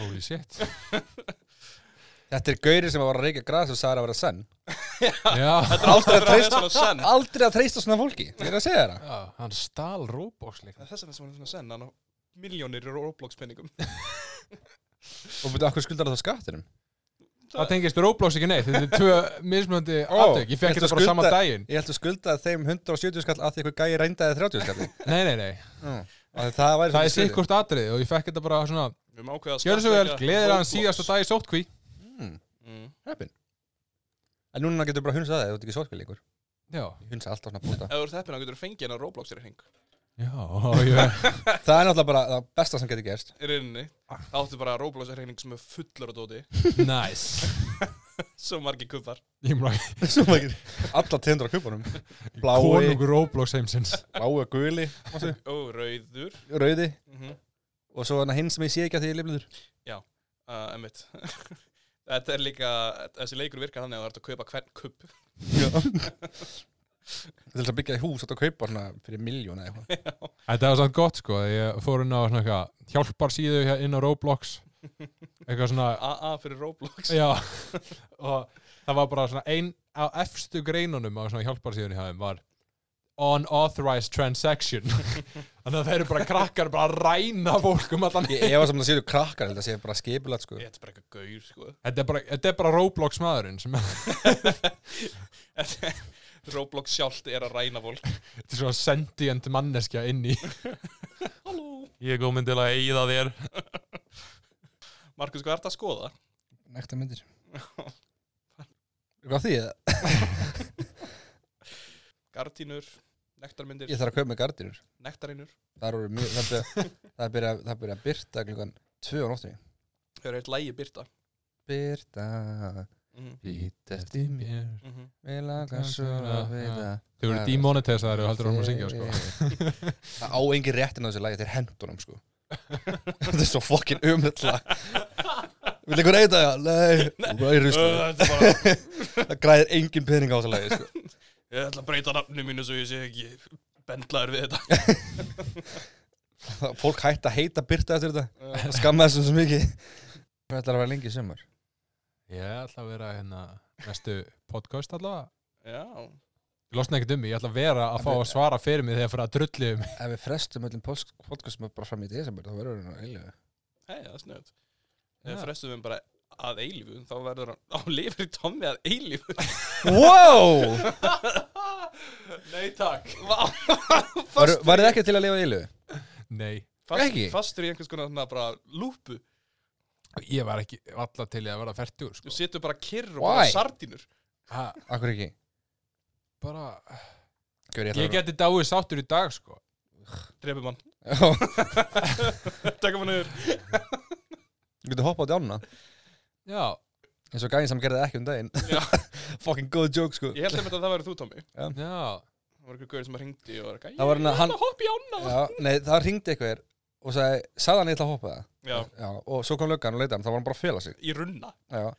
S3: Holy shit
S1: Þetta er gauri sem var að reykja græs og sagði að vera senn
S3: Já,
S1: Aldrei að
S2: Það er
S1: treysta
S2: svona senn.
S1: Aldrei að treysta svona fólki Ég er að segja þér það
S3: já hann stal Roblox líka
S2: Það er þess að það er svona senn, hann á miljónir í Roblox-penningum.
S1: Og betur, akkur skuldar það skattinum
S3: Það tengist Roblox ekki neitt Þetta er tvö mismöndi
S1: Ó,
S3: aftök Ég fekk
S1: ertu
S3: þetta bara saman
S1: skulda-
S3: daginn
S1: Ég held að skulda þeim 170 skall að því eitthvað gæi reyndaði 30 skall
S3: Nei, nei, nei
S1: mm. Það væri
S3: Það
S1: svolítið
S3: er
S1: skrítið.
S3: sikkurt atrið og ég fekk þetta bara svona
S2: Við höfum ákveðið að
S3: Gjörðu svo vel,
S2: skattleggja
S3: gleðir hann
S2: Roblox.
S3: síðasta dag í sótkví
S1: mm.
S2: Mm.
S1: Heppin En núna getur bara hunsað það, þú ert ekki sorgfél ykkur
S3: Já,
S1: Ég hunsa alltaf svona bóta
S2: Ef þú ert heppin, þá getur þú fengið hennar Roblox-reikning
S3: já, ég
S1: Það er náttúrulega bara það besta sem getur gerst
S2: í rauninni.
S3: Ah.
S2: Þá áttu bara Roblox-reikning sem er fullur á dóti,
S3: Næs
S2: svo margir kuppar.
S3: Ég mér að
S1: Svo maður getur Alla tindur á kupunum Blái,
S3: konungur Roblox heimsins
S1: bláu, guli,
S2: Ó, rauður.
S1: rauði
S2: Mm -hmm.
S1: Og svo hann hinn sem ég sé ekki að því ég lifnir
S2: uh, emmitt. Þetta er líka, þessi leikur virkar þannig að þú ert að kaupa hvern kupp.
S1: Til þess að byggja í hús Þetta að kaupa svona fyrir miljón eða eitthvað
S3: Þetta var samt gott sko Ég fór inn á svona eitthvað hjálparsíðu hér inn á Roblox Eitthvað svona
S2: AA fyrir Roblox.
S3: Já, og það var bara svona ein á efstu greinunum á svona hjálparsíðunni hjá þeim var unauthorized transaction þannig að þeir eru bara krakkar bara að ræna fólk um allan
S1: Ég efa sem það séu krakkar Þetta séu bara skipulegt sko
S2: Þetta er bara eitthvað gaur, sko.
S3: þetta er bara, þetta er bara Roblox maðurinn sem
S2: Roblox sjálft er að ræna fólk.
S3: þetta er svona sentient manneskja inn í
S2: Halló.
S3: Ég er komin til að eigða þér
S2: Markus, hvað ert að skoða?
S1: Nekta myndir Hvað því? eða?
S2: Gardínur, nektarmyndir,
S1: Ég þarf að kaupa með gardinur
S2: nektarinur.
S1: Það eru mjög Það byrja, það byrja, það byrja að byrta klukkan 2 á nóttunni
S2: Þau eru eitt lægi byrta.
S1: Byrta Ít eftir mér
S2: Mhm.
S1: Mér langar svona að veita
S3: Þau eru demonetisaðar og heldur að hún að syngja sko.
S1: Það á engin réttin á þessu lagi, þetta er hendunum sko Þetta er svo fokkin umhett lag Vil einhver reyta það? Nei, það er
S2: Ö,
S1: rustu
S2: Þetta er bara
S1: Það græðir engin pening á þessu lagi sko.
S2: Ég ætla að breyta nafnu mínu svo ég sé ekki bendlaður við þetta
S1: Það- Fólk hætti að heita Birta eftir þetta Það skammaði þessum svo mikið Hvað ætlar að vera lengi í sumar?
S3: Ég ætla að vera hérna næstu podcast allavega
S2: Já
S3: Ég losna ekkert um mig, ég ætla að vera að
S1: En
S3: fá
S1: við-
S3: að svara fyrir mig þegar fyrir að drullu um mig.
S1: Ef við frestum öllum post- podcastum bara fram í desember þá verður það eiginlega
S2: Hei, það er snöðt
S3: Já.
S2: Ef frestum við bara að eilífu þá verður hann á lifir í tommi að eilífu
S1: Wow!
S2: Nei takk Vá
S1: Var, var þið ekki til að lifa í eilu?
S3: Nei,
S1: Ekki?
S2: Fastur í einhvers konar svona bara lúpu
S3: ég var ekki alltaf til ég að vera færtur
S2: Þú
S3: sko.
S2: setur bara kyrr og bara
S1: Why?
S2: sardínur
S3: ha,
S1: Akkur ekki
S3: bara,
S1: Gjör,
S3: Ég geti dáið sáttur í dag sko.
S2: Drefum hann
S1: Þú
S2: Tekum hann yfir
S1: getur hoppað á djána
S3: Já,
S1: eins og gæðin sem gerði það ekki um
S2: Já.
S1: daginn Fucking góð joke sko
S2: Ég held einmitt að það væri þú Tommi
S3: já
S2: Það var einhver gauður sem hringdi og var ekki
S1: Það var hann að
S2: Ég
S1: hann-
S2: ætla að hoppa í ána
S1: Já, nei, það ringdi eitthvað og sagði, sagði hann ég ætla að hoppa það
S2: Já
S1: Já, og svo kom löggan og leita hann, þá var hann bara að fela sig
S2: Í runna
S1: Já.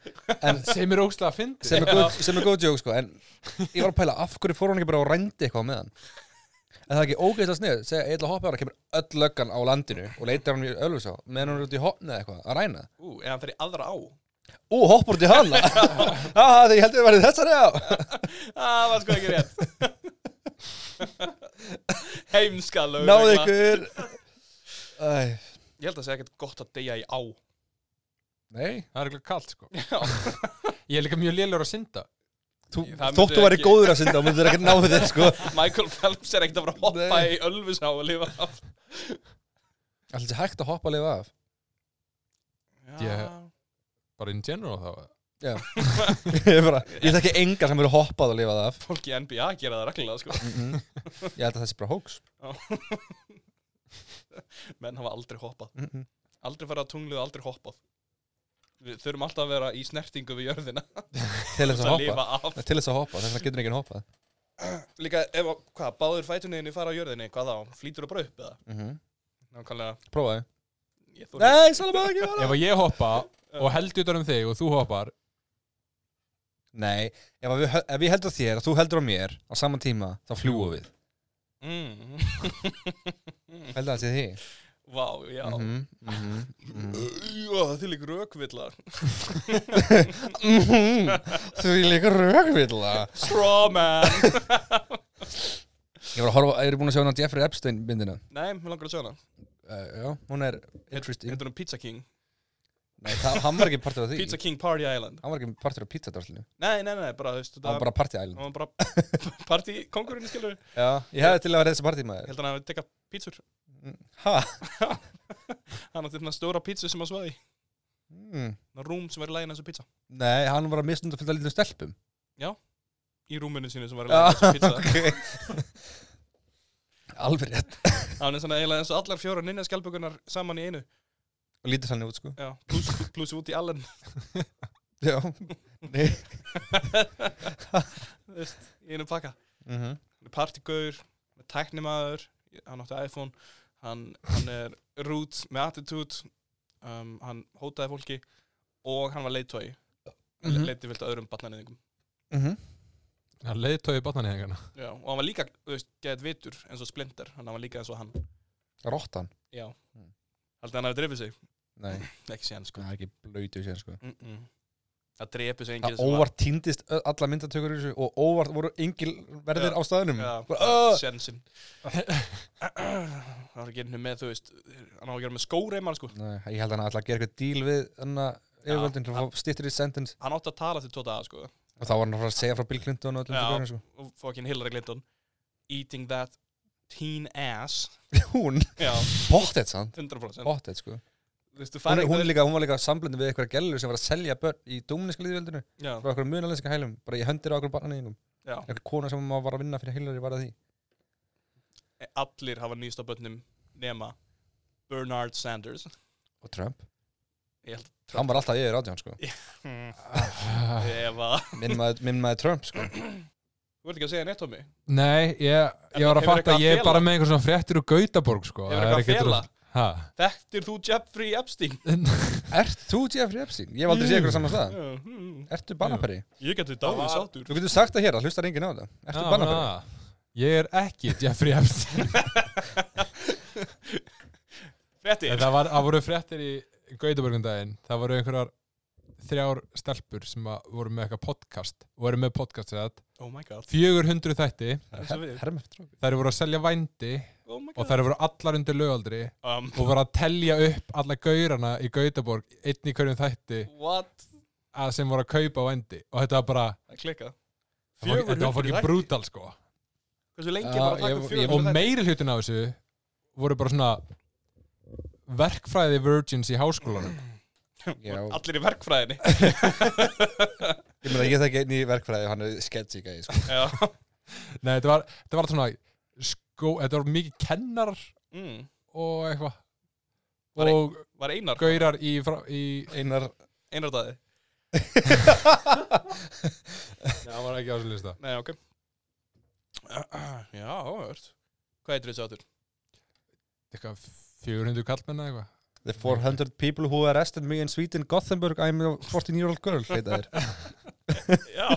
S1: en
S3: Sem er ógstlega að fyndi
S1: sem er, góð, sem er góð joke sko en ég var að pæla, af hverju fór hann ekki bara og rændi eitthvað með hann en það er ekki ógeðslega snið segja, ég ætla að hoppa það, kemur öll löggan á landinu og leitar hann í Ölfusá, meðan hann er út í hopna eitthvað, að ræna
S2: Ú, eða hann fer í aðra á
S1: Ú, hoppur út í hana ah, Þegar ég heldur að verið þessari á
S2: Það var sko ekki rétt Heimska lög
S1: Náðu ykkur Æ,
S2: Ég held að segja ekkert gott að deyja í á
S1: Nei,
S3: Það er eitthvað kallt sko.
S2: Já,
S3: Ég er líka mjög lélur að synda
S1: þú,
S2: Það myndi
S1: þótt þú væri
S2: ekki-
S1: góður að synda og myndir ekki náðu þér sko
S2: Michael Phelps er ekkert að fara að hoppa
S1: Nei.
S2: í Ölfusá og lifa af
S1: Alltaf þessi hægt að hoppa að lifa af
S3: Ég- Bara in general þá
S1: Ég er bara, ég þekki enga sem eru hoppað að lifa það af
S2: Fólk í NBA gera það reglulega sko.
S1: Mhm. Ég held að það sé bara hóks
S2: Menn hafa aldrei hoppað
S1: mm -mm.
S2: Aldrei farið á tunglið og aldrei hoppað Við þurfum alltaf að vera í snertingu við jörðina
S1: Til
S2: til
S1: þess að
S2: að
S1: hoppa
S2: lifa af
S1: Til þess að hoppa, þess að getur ekki hoppað
S2: Líka ef, að- hvað, báður fætunniðinni fara á jörðinni Hvað þá, flýtur það bara upp eða?
S1: mm -hmm.
S2: Nákvæmlega,
S1: Prófaði
S2: ég þú
S1: Nei, svolítið ekki vera
S3: Ef að ég hoppa og held utan um þig og þú hoppar
S1: Nei, ef, að við, hö- ef ég heldur á þér og þú heldur á mér á saman tíma, þá fljúum við
S2: mm.
S1: Heldur það sé því
S2: Vá, já mm
S1: Mhm, mhm, mhm.
S2: Það er líka rökvillar
S1: Mhm. Þú er líka rökvilla
S2: Strawman
S1: Ég var að horfa, er ég búin að sjá hann á Jeffrey Epstein myndina?
S2: Nei, mér langar að sjá hana
S1: Uh, já, hún er interesting
S2: Þetta er um Pizza King
S1: Nei, það, hann var ekki partur af því
S2: Pizza King Party Island
S1: Hann var ekki partur af pizzadörslinu
S2: Nei, nei, nei, bara, þú veist,
S1: Hann var
S2: þetta
S1: bara party island
S2: Hann var bara Party kongurinn, skilur Ég
S1: Já, ég hefði til að vera þessi party maður
S2: held að hann hafi tekað pítsur
S1: Ha?
S2: Hann átti þarna stóra pítsu sem hann svaði
S1: Mm.
S2: Ná rúm sem var í lægin þessu pizza
S1: Nei, hann var að misnund að fylgja lítið stelpum
S2: Í rúminu sínu sem var í lægin þessu pizza
S1: okay. Alveg rétt
S2: Hann er svona eiginlega eins og allar fjóra ninja skjálpugunar saman í einu
S1: Og lítið sannig út sko
S2: Já, plus, plus út í allen
S1: Já Nei
S2: Þú veist, í einu pakka
S1: mm
S2: Hann er partygaur, hann er tæknimaður, hann átti iPhone, hann, hann er root með attitude, um, hann hótaði fólki og hann var leittvægi. Hann
S1: Mhm.
S2: -hmm. leitti vilt öðrum batnaniðingum.
S3: Það leiðtói í batnanýðingarna
S2: Já, og hann var líka, þú veist, geðið vitur eins og splinter, hann var líka eins og hann.
S1: Rottan
S2: Já.
S1: Mm.
S2: Haldið hann hafi drefið sig?
S1: Nei,
S2: Ekki séðan, sko.
S1: það er ekki blöytu sér sko
S2: Mm -mm. Það drefið sig enginn
S1: Það óvart týndist ö- allar myndatökur í þessu og óvart voru engil verðir
S2: Já.
S1: á staðunum
S2: Já,
S1: Bara, "Ugh!"
S2: sénsinn. Það var ekki einhvern með, þú veist, hann á að gera með skóreimar, sko.
S1: Nei, ég held að hann ætla að gera eitthvað díl við þannig að yfirvöldin til að fá stýttir í sentence
S2: Hann átti að tala til tóta að, sko.
S1: og þá var hann að fara að segja frá Bill Clinton og öllum
S2: Já.
S1: til börnum sko.
S2: og fucking Hillary Clinton eating that teen ass
S1: Hún,
S2: já,
S1: pottet sann
S2: 100% oh.
S1: pottet sko
S2: Vistu,
S1: hún,
S2: hún,
S1: er- hún, er líka, hún var líka samblöndin við eitthvað gælur sem var að selja börn í dómniska liðvöldinu
S2: já,
S1: frá eitthvað munalenska hælum, bara ég höndir á okkur barnaneginum
S2: já,
S1: eitthvað kona sem maður var að vinna fyrir Hillary var að því
S2: allir hafa nýst á börnum nema Bernard Sanders
S1: og Trump
S2: Ég held
S1: Hann var alltaf yfir átján sko
S2: hmm,
S3: Ah,
S2: Ef að
S1: Minn maður, minn maður Trump sko
S2: Þú vilt ekki að segja neitt, Tommy?
S3: Nei, ég, ég var að
S2: hefur
S3: fatta
S2: eitthvað
S3: að
S2: að
S3: ég er
S2: fela?
S3: bara með einhver svona fréttir úr Gautaborg sko.
S2: Hefur
S3: Það er
S2: eitthvað að
S3: ekkert
S2: fela?
S3: rosa- Ha?
S2: Þekktir þú Jeffrey Epstein?
S1: Ert þú Jeffrey Epstein? Ég hef aldrei séð ykkur á saman stað
S2: Já, hmm.
S1: Ertu banapari?
S2: Ég geti dáið
S3: var-
S2: sáttur
S1: Þú getur sagt það hér, það hlustar enginn á þetta Ertu
S3: Já,
S1: banapari?
S3: na. Ég er ekki Jeffrey Epstein En
S2: Frettir
S3: Það var, það voru fréttir í Gautaborgum daginn Það voru einhverjar þrjár stelpur sem að voru með eitthvað podcast og eru með podcast sem þetta
S2: Oh my god
S3: 400 þætti,
S1: Það er
S2: Eins og
S1: her-
S2: við.
S1: hermafrú.
S3: þær voru að selja vændi
S2: Oh my
S3: og
S2: god
S3: þær voru allar undir lögaldri
S2: um,
S3: og voru að telja upp alla gaurana í Gautaborg einn í hverjum þætti
S2: What?
S3: að sem voru að kaupa vændi og þetta var bara,
S2: Það klikka
S3: þetta var- þetta var fokkin brútal sko
S2: Hversu lengi
S1: Já,
S2: bara að taka
S1: ég-
S2: upp
S1: ég-
S3: og
S2: 400 þætti?
S3: meiri hlutin af þessu voru bara svona verkfræði virgins í háskólanum
S1: Já,
S2: Allir í verkfræðinni
S1: ég meina ég þekki einn í verkfræði og hann er sketchy gæði sko
S2: Já
S3: Nei, þetta var, þetta var allt svona skó, þetta var mikið kennar
S2: mm.
S3: og eitthvað
S2: Var ein-
S3: og
S2: Var Einar
S3: gaurar í, frá- í
S1: Einar
S2: Einar daði
S3: Já, hann var ekki á þessu lista
S2: Nei, ok Já, áhört Hvað heitir þessi áttur?
S3: Eitthvað 400 kallmenn eða eitthvað
S1: The 400 people who arrested me in Sweden Gothenburg I'm a 14 year old girl heita þér
S2: Já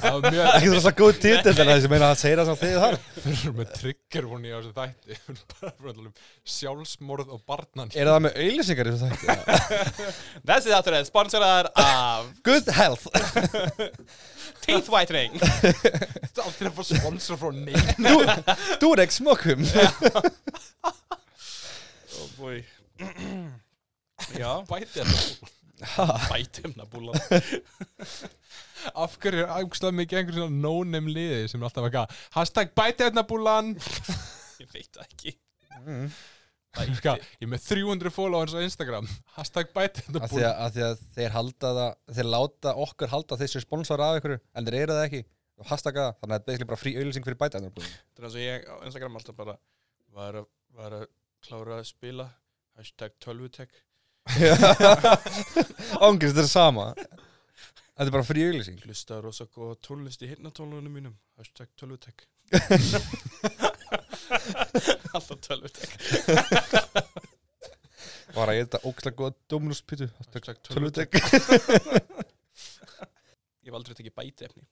S3: Það var mjög
S1: Ekki þess að góð titill en það sem meina að segja það sem þið þar
S3: Við erum með trigger hún í á þessu þætti Við erum bara að tala um sjálfsmorð og barnan
S1: Er það með auðlýsingar í þessu þætti?
S2: Þessi þáttur er sponsorar af
S1: Good health
S2: Teeth Whitening
S3: er aldrei að fá sponsor frá neitt
S1: Durek smokum
S2: Oh boy Já
S3: Bæti þetta
S2: Bætumna búlan
S3: Af hverju er ákslega mikið einhver svona no-name liði sem er alltaf eitthvað Hashtag bæti þetta búlan
S2: Ég veit það ekki
S1: Mm.
S3: Ska, Ég er með 300 followers á Instagram Hashtag bæti þetta
S1: Af því
S3: búlan
S1: að, að því að þeir halda það Þeir láta okkur halda þessi sponsor af ykkur En þeir eru það ekki Og hastaka það Þannig að þetta er basically bara frí auðlýsing fyrir bæta
S2: Það er eins og ég á Instagram alltaf bara Var að, var að klára að spila Hashtag 12tech
S1: Ángriðs þetta er sama Þetta er bara frí auðlýsing
S2: Hlusta á rosa góða tónlist í hérna tónlunum mínum Hashtag 12tech Alltaf 12tech
S1: Var að ég þetta ókslega góða dómluspítu
S2: Hashtag 12tech
S1: Tölvutek
S2: Ég hef aldrei tekið bæti efni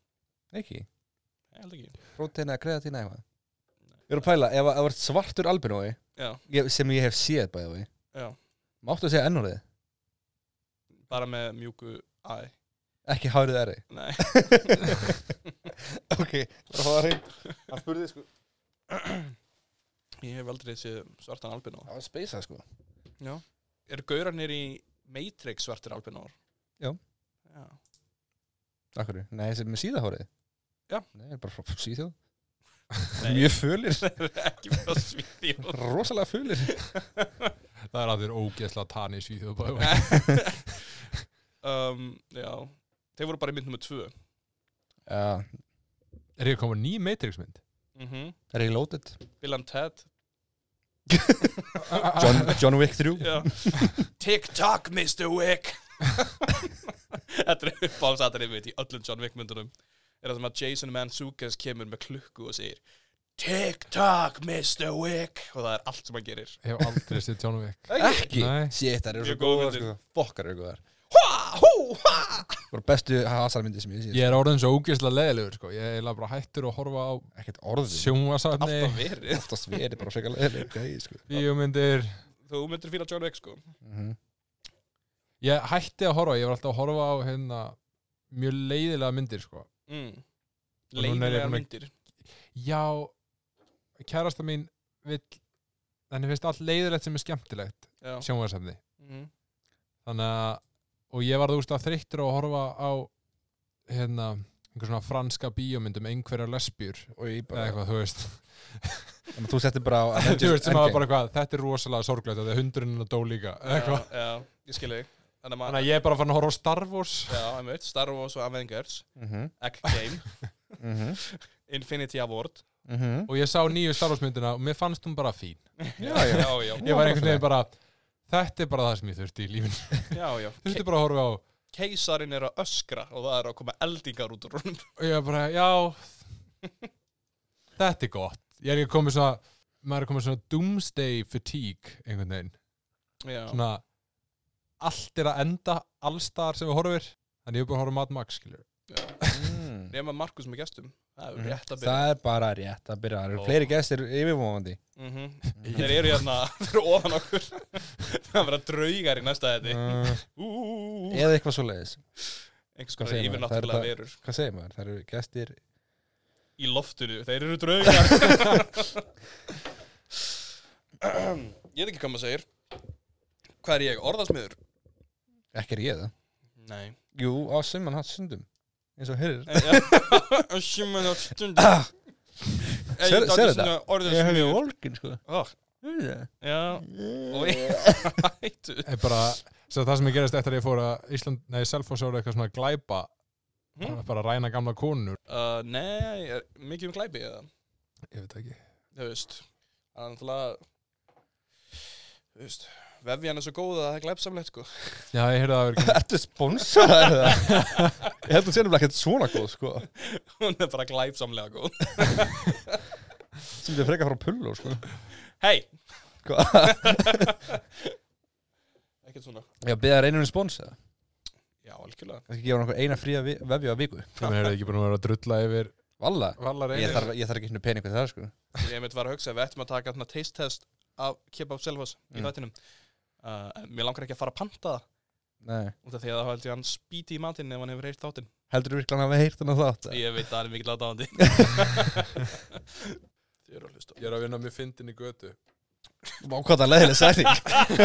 S1: Ekki
S2: Ég held ekki
S1: Próteina, kreatína eitthvað Ég er að pæla Ef að það var svartur albinói
S2: Já,
S1: ég- Sem ég hef séð bæði við
S2: já
S1: Máttu að segja ennúrið
S2: Bara með mjúku E. æ
S1: Ekki hárið erri
S2: Nei
S1: Ok Það var hreint Hann spurði sko
S2: Ég hef aldrei séð svartan albinó
S1: Það var speysað sko
S2: Já Eru gaurarnir í Matrix svartir albinóar?
S1: Já.
S2: Já
S1: Akkur Nei, þessi með síðahárið
S2: Já.
S1: Nei, það er bara frá síðhjóð
S2: Nei.
S1: Mjög fölir
S2: Ekki frá Svíþjóð
S1: Rosalega fölir
S3: Það er allir ógeðslega tani í Svíþjóð by the way.
S2: um, Já Þeir voru bara í mynd nummer tvö
S1: Já
S3: Er ég komið ný Matrix mynd?
S2: mm -hmm.
S1: Reloaded
S2: Bill and Ted
S1: John, John Wick 3
S2: Já TikTok Mr. Wick Þetta er uppáðsatrið mitt í öllum John Wick myndunum Er það sem að Jason Mantzoukas kemur með klukku og segir TikTok Mr. Wick Og það er allt sem hann gerir
S3: Ég hef aldrei séð John Wick
S1: Ekki
S3: Nei.
S1: Shit, það eru
S2: Mjög
S1: svo góða
S2: góð
S1: sko Fokkar eru góðar
S2: Hva, hú, hva
S1: Voru bestu hasarmyndi sem ég sé
S3: Ég er orðin svo ógeðslega leðilegur sko. Ég er eiginlega bara hættur að horfa á
S1: Ekkert orðið
S3: sjónvasafni
S2: Alltaf verið
S1: Oftast verið bara frekar leðileg gæði sko
S3: Bíómyndir
S2: Þú myndir fíla John Wick sko
S1: Mhm.
S3: Ég hætti að horfa, ég var alltaf að horfa á hérna, mjög leiðilega myndir sko.
S2: mm.
S3: Og núna er ég
S2: Leiðilega
S3: búin að-
S2: myndir
S3: Já, kærasta mín vill, þannig finnst allt leiðilegt sem er skemmtilegt
S2: Já
S3: sjónvarsefni
S2: mm.
S3: þannig að, og ég var þú veist að þreyttur á að horfa á hérna, einhver svona franska bíómynd um einhverja lesbjur
S1: Og ég
S3: eða
S1: bara
S3: eitthvað, þú veist
S1: Þannig að Þú settir bara á
S3: þú veist
S1: Avengers
S3: sem að
S1: Endgame
S3: bara hvað, þetta er rosalega sorglegt að hundurinn að dó líka eða
S2: Já,
S3: eitthvað.
S2: já, ég skil þig Þannig að
S3: þannig
S2: maður
S3: að ég er bara fann að horfa á Star Wars
S2: Já, einmitt Star Wars og Avengers
S1: Mhm,
S2: Endgame
S1: mhm,
S2: Infinity Award
S1: mhm.
S3: og ég sá nýju Star Wars myndina og mér fannst hún bara fín
S2: Já, já, já
S3: ég var einhvern veginn bara Þetta er bara það sem ég þurfti í lífinu.
S2: Já, já.
S3: Þurfti bara að horfa á,
S2: Keisarin er að öskra og það er að koma eldingar út úr honum.
S3: og ég bara, já, þetta er gott. Ég er ekki komið svona, maður er komið svona doomsday fatigue einhvern veginn.
S2: Já.
S3: Svona, allt er að enda allstaðar sem við horfir. Þannig ég er bara að horfa á Mad Max, skiljur.
S1: Mm.
S2: Nefna Markus með gestum. Það er rétt að byrja.
S1: Það er bara rétt að byrja Það eru
S2: Ó.
S1: fleiri gestir yfirvofandi
S2: Mm Þeir eru hérna fyrir ofan okkur. það verða draugar í næsta þetta.
S1: uh,
S2: Úúúú.
S1: Eða eitthvað svo leiðis
S2: Einhvers
S1: Hvað
S2: konar
S1: segir maður? Það er
S2: yfirnáttúrulega
S1: það-
S2: verur
S1: Hvað segir maður? Það eru gestir
S2: í loftinu. Þeir eru draugar. ég veit ekki hvað maður segir. Hvað er ég? Orðasmiður?
S1: Ekki er ég það
S2: Nei. Eh,
S1: Jú, á suman hans sundum eins og hér
S2: Sjöman á stund
S1: Ah.
S2: Eh,
S1: Sérðu- sérðu Ég hef
S2: Orðasmiður
S1: ég volkin sko
S2: Ó,
S1: Nei,
S2: Já Og hættu
S3: er bara, svo það sem ég gerist eftir að ég fór að Ísland, nei, Selfoss ára eitthvað svona glæpa,
S2: Hmm?
S3: bara að ræna gamla konur.
S2: Uh, Nei, er mikið um glæpi eða
S3: Ég veit ekki.
S2: Þú veist Það er náttúrulega Þú veist Vefjan er svo góð að það er glæpsamlegt sko
S3: Já, ég heyrði að það verið
S1: Ertu sponsor eða? Ég held að sérna bara ekkert svona góð sko
S2: Hún er bara glæpsamlega góð
S1: sem þið frekar frá pulló sko
S2: Hei
S1: Hvað?
S2: Ekkert svona
S1: Já, beða reynum spons eða?
S2: Já, algjörlega
S1: Það ekki gefa nokkuð eina fría vi- vefju að viku
S3: Þannig að það er ekki búin að vera að drulla yfir
S1: Valla
S3: Vallar
S1: Ég þarf, ég þarf ekki henni pening við það sko
S2: Ég mitt var að hugsa Við ættum að taka þarna taste test Af kebab selvas
S1: Mm.
S2: Í þættinum uh, en Mér langar ekki að fara að panta það
S1: Nei
S2: Út af því að það held ég að hann spýti í matinn ef hann hefur heyrt þáttinn.
S1: Heldur þú virkilega að hafa heyrt hann að þátt?
S2: Ég veit að það er mikill aðdáðandi. Þið eru að hlusta.
S3: Ég er að vinna með fyndin í götu
S1: Vá, hvað það leðileg sæning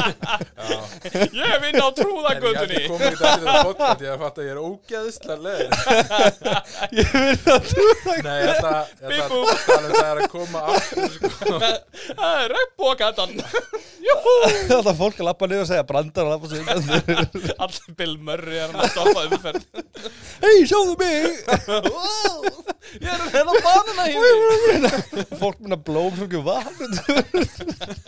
S2: Ég vinn á
S3: Ég er
S2: trúðagötunni.
S3: komið í dag til þetta podcast Ég er að fatta að ég er ógeðslega leður
S1: Ég veit að þú
S3: Nei, ég ætla ég ætla
S2: Bíbú.
S3: að tala um það er að koma aftur sko.
S2: Það er regnbókatan.
S1: Það er alltaf fólk að lappa niður og segja brandar og lappa sig undan
S2: Allir Bill Murray er hann að stoppa umferð.
S1: Hei, sjáðu mig
S2: Wow, ég er að reyna banana í því.
S1: Fólk minna blóm svo ekki vatn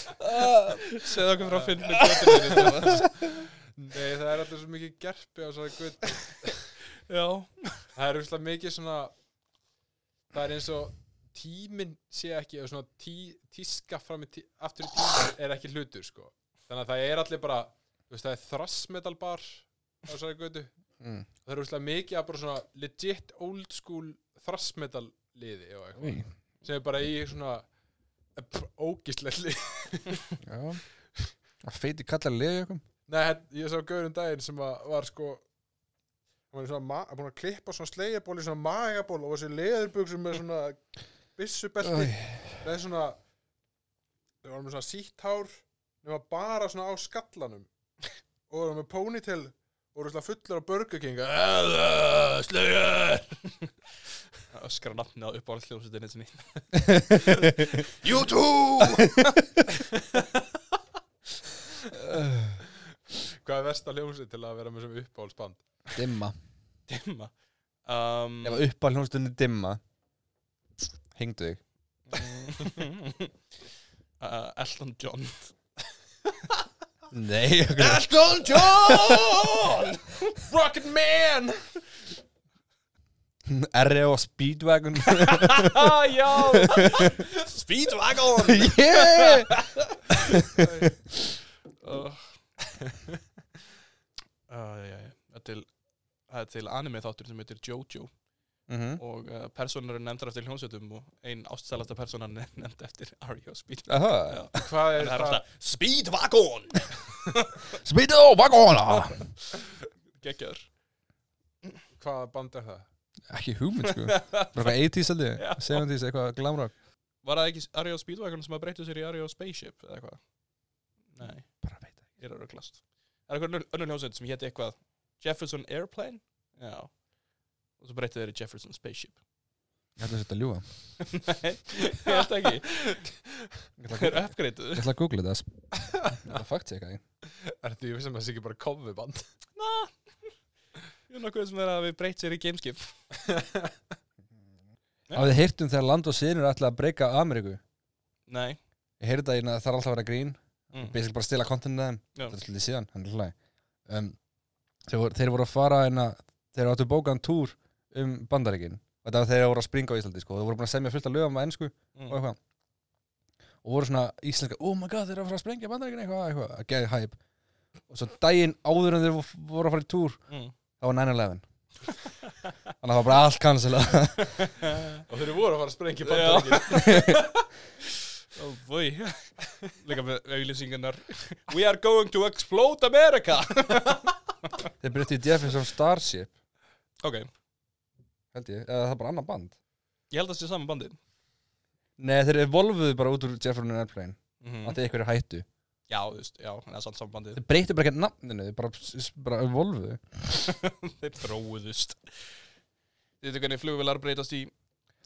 S2: Segð okkur frá finnum götunni.
S3: Nei, það er alltaf svo mikið gerpi á svona götu
S2: Já.
S3: Það er umslega mikið svona Það er eins og tíminn sé ekki eða svona tí, tíska fram í tí, aftur í tíminn er ekki hlutur sko. þannig að það er allir bara þú veist, það er þrassmetalbar á svona götu
S1: Mm.
S3: það er úrslega mikið að bara svona legit old school thrassmetal liði og eitthvað sem er bara í svona ógislegt lið
S1: Já Það feiti kallar leiði okkur
S3: Nei, hann- ég sá gaurum daginn sem að var sko hann var í svona ma- búin að klippa svona slegjaból í svona magaból og þessi leðurbuksum með svona byssubelti það er svona það var með svona sítt hár nema bara svona á skallanum og það var með ponytail og það fullur á Burger King
S2: Slöður. Öskra nafni á uppáhaldsljósutinni sinni. You too.
S3: hvað er versta ljósi til að vera með svona uppáhaldsband
S1: Dimma
S2: Dimma. Um,
S1: Ef upp að hljónstunni dimma Hengdu þig
S2: uh, Elton John
S1: Nei okkur
S2: Elton John Rocket Man
S1: R.E.O. E Speedwagon
S2: ah, Já Speedwagon
S1: Yeah
S2: uh, já, já, já. Það er til, það er til anime þáttur sem heitir Jojo
S1: Mhm.
S2: og uh, personar er nefndar eftir hljónsveitum og ein ástsælasta personan er nefnd eftir Ario Speedwagon
S1: Aha.
S3: hvað er
S2: Það er
S3: það,
S2: alltaf Speedwagon
S1: Speedwagon
S2: Gekkjör
S3: hvað band er það
S1: Ekki hugmynd sko Bara eitthvað 80s aldrei
S2: Já.
S1: 70s eitthvað glamrock
S2: Var það ekki Ario Speedwagon sem að breyttu sér í Ario Spaceship eða eitthvað? Nei
S1: Bara veit ekki.
S2: Ég er að rugglast. Það er eitthvað önnur hljómsveit sem héti eitthvað Jefferson Airplane? Já. Og svo breytið þeir í Jefferson Spaceship.
S1: Ég ætla að setja að ljúga
S2: Nei, ég held ekki.
S1: Ég ætla
S2: Þeir
S1: að-
S2: uppgreituðu.
S1: ég ætla að googla þetta Ég ætla að fakt ég eitthvað
S3: er þetta ég veist að það sé ekki bara kofuband
S2: Ná, ég er nokkuð sem er að við breytið sér í gameskip.
S1: Hafið þið heyrt um þegar land og sinur ætla að breyka Ameríku
S2: Nei,
S1: ég heyrði það að það er alltaf að vera grín
S2: Mm.
S1: basically bara stila kontinu þeim
S2: Já.
S1: þetta er svolítið síðan, hann er hlæg um, þeir, voru- þeir voru að fara einna, þeir áttu bókaðan túr um bandaríkin þetta var þeir voru að springa á Íslandi sko. þeir voru búin að semja fullt af lögum á ennsku og
S2: Mm.
S1: eitthvað og voru svona íslenska, oh my god þeir eru að fara að sprengja bandaríkin eitthvað, eitthvað, að geða hæp og svo daginn áður en þeir vo- voru að fara í túr
S2: Mm.
S1: þá var 9-11 þannig að það var bara allt cancelað
S3: Og þeir voru að fara að sprengja
S2: Bandaríkin. Oh boy Líka með auglýsingarnar We are going to explode America
S1: þeir byrjuði í Jefferson Starship
S2: Ok,
S1: held ég, eða það er bara annar band
S2: ég held að það sé saman bandi
S1: Nei, þeir evolvuðu bara út úr Jefferson Airplane
S2: Mhm.
S1: mm. að þeir ykkur hættu
S2: Já, þú veist, já, það er samt saman bandi
S1: Þeir breyttu bara ekki nafninu, þeir bara, bara evolvuðu
S2: Þeir þróuðust Þið veitum hvernig flugvilar breytast í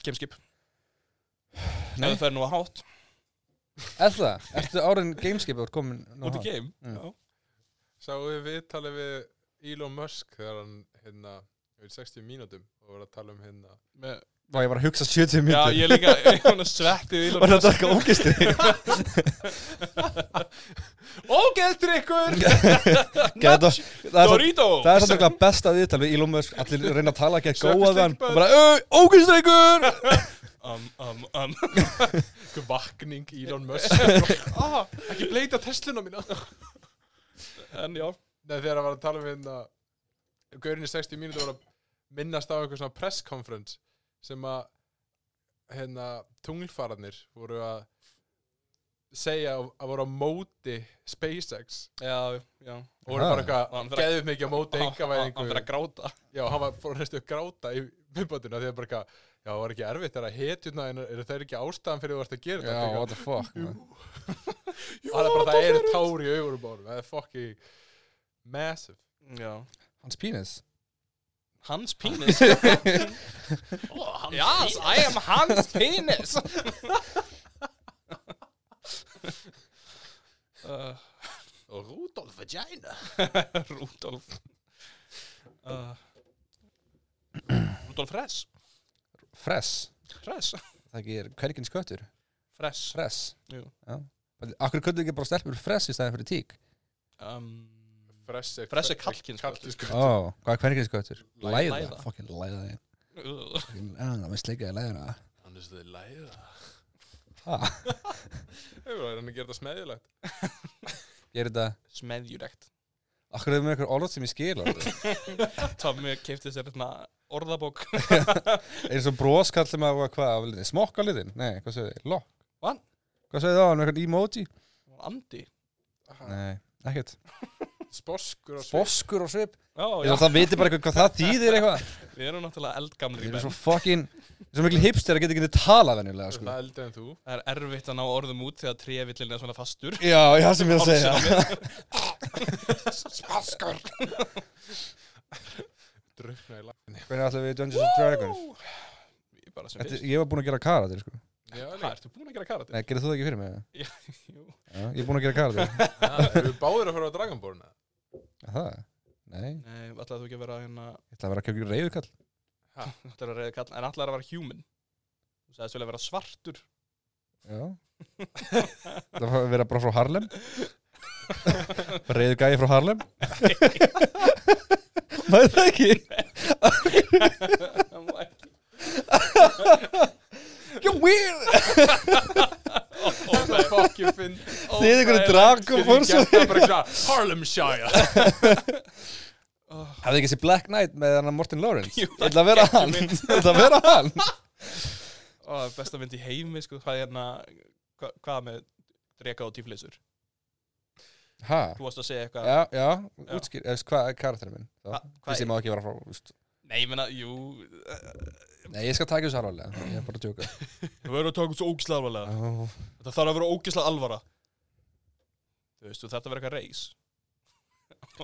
S2: gameskip Nei
S1: Nei.
S2: Það fer nú að hátt
S1: Er það? Ertu áriðin gameskipið úr komin nú
S2: út í
S1: hátt?
S2: game
S1: Mm.
S2: Já.
S3: Sáu við viðtalið við Elon Musk þegar hann hérna við 60 mínútum og voru að tala um hérna
S2: Með-
S1: Vá, ég var að hugsa 70
S2: Já,
S1: mínútur
S2: ég líka, ég er svona svettið í
S1: Var þetta eitthvað ógistu?
S2: Ógeðstur ykkur
S1: það er svo-
S2: Dorito
S1: það er samt eitthvað besta viðtal við Elon Musk Allir reyna að tala ekki að góa
S2: Sökkvist
S1: þann
S2: ekki
S1: Og bara, ógistu ykkur!
S2: um, um, um.
S3: Einhver vakning Elon Musk ah, ekki bleita Tesluna mína
S2: En já,
S3: Nei, þegar hann var að tala um hérna Gaurin í 60 mínútur var að minnast á einhver svona press conference sem að hérna tunglfararnir voru að segja að að voru á móti SpaceX
S2: já, já
S3: og voru
S1: Ha.
S3: bara
S2: Hann
S3: eitthvað
S2: fer að-
S3: geðið mikið á móti
S2: Hann
S3: engavæðingu
S2: fyrir að gráta
S3: Já, hann var fór næstu að gráta í minnbandinu þegar bara eitthvað, já, það var ekki erfitt þegar að hetjuna en eru þeir ekki ástæðan fyrir þú varst að gera
S1: Já,
S3: þetta
S1: what the fuck man.
S3: Jú, það er bara, það eru tár í augunum bárum það er fokki massive
S2: Já
S1: Hans penis
S2: Hans penis oh, hans Yes, I am Hans penis uh,
S3: og Rudolf Vagina
S2: Rudolf uh, Rudolf Hress
S1: Fress
S2: Hress
S1: Það ekki er kverkins köttur
S2: Hress
S1: Fress
S2: Jú.
S1: Já. Akkur köttur ekki bara stelpur fress í staðin fyrir tík
S2: um,
S3: Fress er,
S2: Fress er sko. karlkynsköttur.
S3: sko.
S1: Ó, hvað er kverkins köttur?
S2: Læða.
S1: Læða Fokkin læða þig
S2: uh,
S1: Fucking- I don't know, með sleikaði læðina
S3: Hann er stöðið læða
S1: Ha?
S3: Það er hann að gera þetta smeðjulegt
S1: Ég er þetta
S2: Smeðjurekt
S1: Akkur er það með einhver orð sem ég skil alveg?
S2: Tommi keipti sér hérna orðabók
S1: Eins og broskall sem að var hvað af litin? Smokka litin? Nei, hvað segir þið? Lokk?
S2: Hva?
S1: Hvað segir þið á hann? Eitthvað emoji?
S2: Andi
S1: Nei, ekkert
S3: Sposkur á svip
S1: Boskur og svip
S2: Já,
S1: Ég
S2: já
S1: þarf að viti bara eitthvað hvað það þýðir eitthvað
S2: Við erum
S1: Ég
S2: náttúrulega eldgamlir
S1: er svo fucking Ég er svo mikil hipster að geta ekki talað venjulega
S3: Það
S1: sko
S3: er eldið en þú
S2: Það er erfitt að ná orðum út þegar trefillin er svona fastur
S1: Já, já, sem ég er að segja
S2: Spaskar
S3: Drukna í lagin
S1: Hvernig ætlum við í Dungeons and Dragons?
S2: Ég bara sem
S1: Þetta,
S2: fyrst
S1: ég var búinn að gera karatir sko
S3: Já,
S2: Hvað, ertu búin að gera karate?
S1: Nei, gerir þú það ekki fyrir mig?
S2: Jú
S1: Já, ég er búinn að gera karatir
S3: líka Við báðir að fara á Dragonborna
S1: Það? Nei,
S2: Nei, ætlaði þú ekki að vera hérna
S1: ég ætla að vera ekki reyður kall
S2: Ætlaði að reyða kall En ætlaði að vera human Þú sagðist vel að vera svartur
S1: Já Það var að vera bara frá Harlem Reyðu gæði frá Harlem Mæði það ekki?
S2: Það má ekki-
S1: You're weird
S3: Það er fokkin finn
S2: Oh
S1: Þið ykkur
S2: Óþægilegt.
S1: drakum fór svo
S3: Það er bara eitthvað Harlem Shire
S1: Hafði ekki sé Black Knight með hann Morten Lawrence
S2: Jú,
S1: Ég ætla að vera hann Ég ætla að vera hann
S2: Ó, Besta mynd í heimi sko Hvað er hérna hva- Hvað með Dreka og tíflisur
S1: Ha?
S2: Þú varst að segja eitthvað
S1: Já, já, útskýr Eða hvað er karakterinn minn?
S2: Hva-
S1: Þá,
S2: hvað
S1: Fyrst ég má ekki vera frá úst.
S2: Nei, ég meina, jú
S1: Nei, ég skal taka þessu alvarlega Ég er bara að tjóka
S2: Þú verður að taka svo ógislega alvarlega Þetta þarf að vera ógislega alvara Þú veist, þú þarf að vera eitthvað reis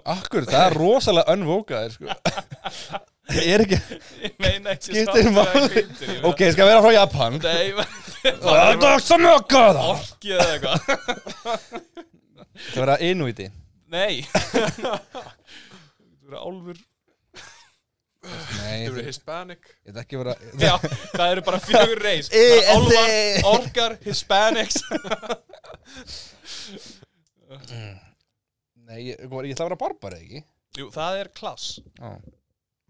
S1: Akkur, það er rosalega unvokaðir sko. Ég er ekki
S2: Ég meina ekki
S1: Skiptir
S2: samt
S1: máli.
S2: eða hvítur, ég meina-
S1: Ok, ég skal vera frá Japan
S2: Nei, ég meina-
S1: Það er svo mjög góða
S2: orkið eða eitthvað
S1: Það vera innúti
S2: Nei Þú eru álfur
S1: Nei,
S3: Þú
S1: ég
S3: eru Hispanic
S1: ætla ekki að vera
S2: Já, það eru bara fjögur reis
S1: Eh,
S2: Það eru
S1: eh,
S2: Álfar,
S1: eh.
S2: orkar, hispanics
S1: Nei, ég, ég ætla að vera barbari, ekki?
S2: Jú, það er klass
S1: Já.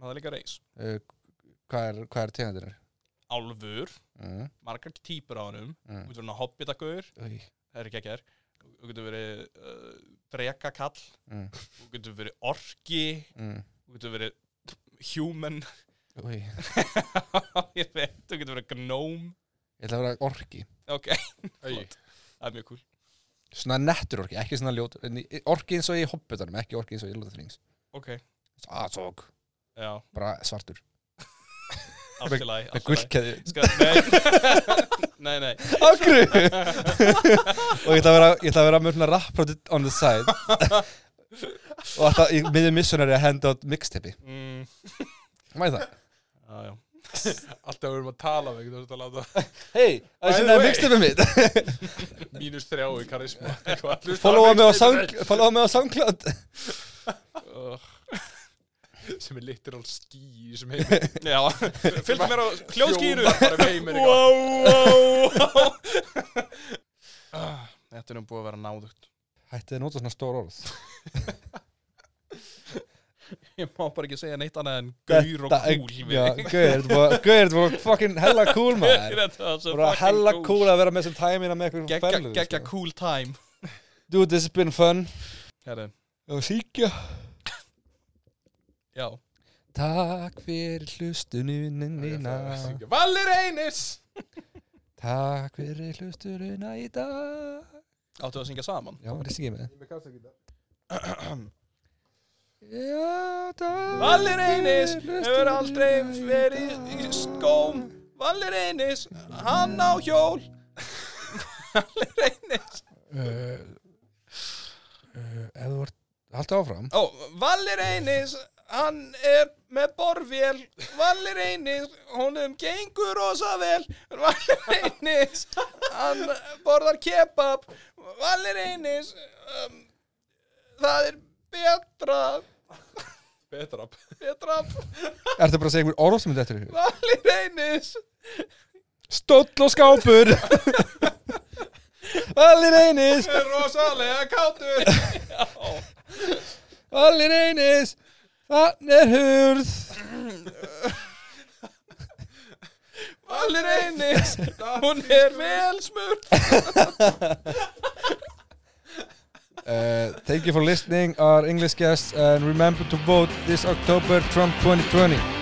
S2: Það er líka reis
S1: Uh, hvað er, hvað er tegundirinn?
S2: Álfur,
S1: Mm,
S2: margar típur á hannum Þú
S1: mm.
S2: getur verið hobbitagaur,
S1: Új,
S2: það er ekki ekki er Þú getur verið uh, drekakall
S1: mm,
S2: Þú getur verið orki
S1: mm,
S2: Þú getur verið human
S1: új.
S2: Ég veit, þú getur verið gnóm
S1: Ég ætla að vera orki.
S2: Ok,
S3: Æ,
S2: það er mjög cool
S1: Svona nettur orki, ekki svona ljótur. en í- Orki eins og í hobbitanum, ekki orki eins og í Lord of the Rings.
S2: Ok,
S1: Aðsók,
S2: já,
S1: bara svartur.
S2: allt
S1: Með
S2: í lagi allt í lagi.
S1: gullkeði.
S2: Skal, Sko, nei, nei, nei
S1: Akkur! og ég ætla að vera, ég ætla að vera mörgna rapprótið on the side. og alltaf í miðjum missionari að henda át mixtipi.
S2: mm,
S1: Mæði það?
S2: á, já.
S3: Alltaf við erum að tala við, þú veist að láta
S1: Hei, það
S3: By
S1: er
S3: the
S1: svona
S3: way.
S1: mixtipið mitt.
S3: mínus þrjá í karisma. eitthvað.
S1: Followa mig á Sound- followa mig á SoundCloud.
S2: Ugh.
S3: Sem er literal ský í þessum heimi.
S2: Já, fylgdu mér á hljóðskýru
S3: Hljóðar bara um heiminn eitthvað.
S2: Wow, wow, wow
S1: Ah,
S2: Þetta er nú búið að vera náðugt
S1: Hættið að nota svona stór orð.
S2: Ég má bara ekki segja neitt annað en gaur og
S1: Þetta er-
S2: kúl
S1: já, Gaur, þetta var- gaur, þetta var fucking hella cool maður Bara hella cool að vera með sem tæmina með eitthvað
S2: Gekka,
S1: ferlið
S2: gekka
S1: sko.
S2: cool time
S1: Dude, this has been fun
S2: Herri,
S1: Og síkja
S2: já
S1: Takk fyrir
S3: Það er að
S1: hlustunina
S3: syngja, Valir Einis!
S1: Takk fyrir hlustunina í dag
S2: Áttu að syngja saman
S1: Já, það syngja með
S3: Ég með kassa ekki það.
S1: Já, takk
S2: Valur Einis
S1: fyrir
S2: hefur
S1: hlustunina
S2: aldrei
S1: í
S2: verið
S1: dag.
S2: í skóm Valur Einis, hann á hjól Valur Einis
S1: Uh, uh, Ef þú vart Haltu áfram
S2: Ó, Valur Einis, hann er með borvél Valur Einis, honum gengur rosa vel Valur Einis, hann borðar kebab Valur Einis, um, það er betra
S3: Betra.
S2: betra
S1: Ertu bara að segja einhver orð sem þetta er
S2: Valur Einis
S1: Stóll og skápur Allir einis
S2: er rosalega kátur Já
S1: Allir einis Þann er hurð
S2: Valur Einis, hún er vel smurt
S1: uh, Thank you for listening Our English guests And remember to vote this October Trump 2020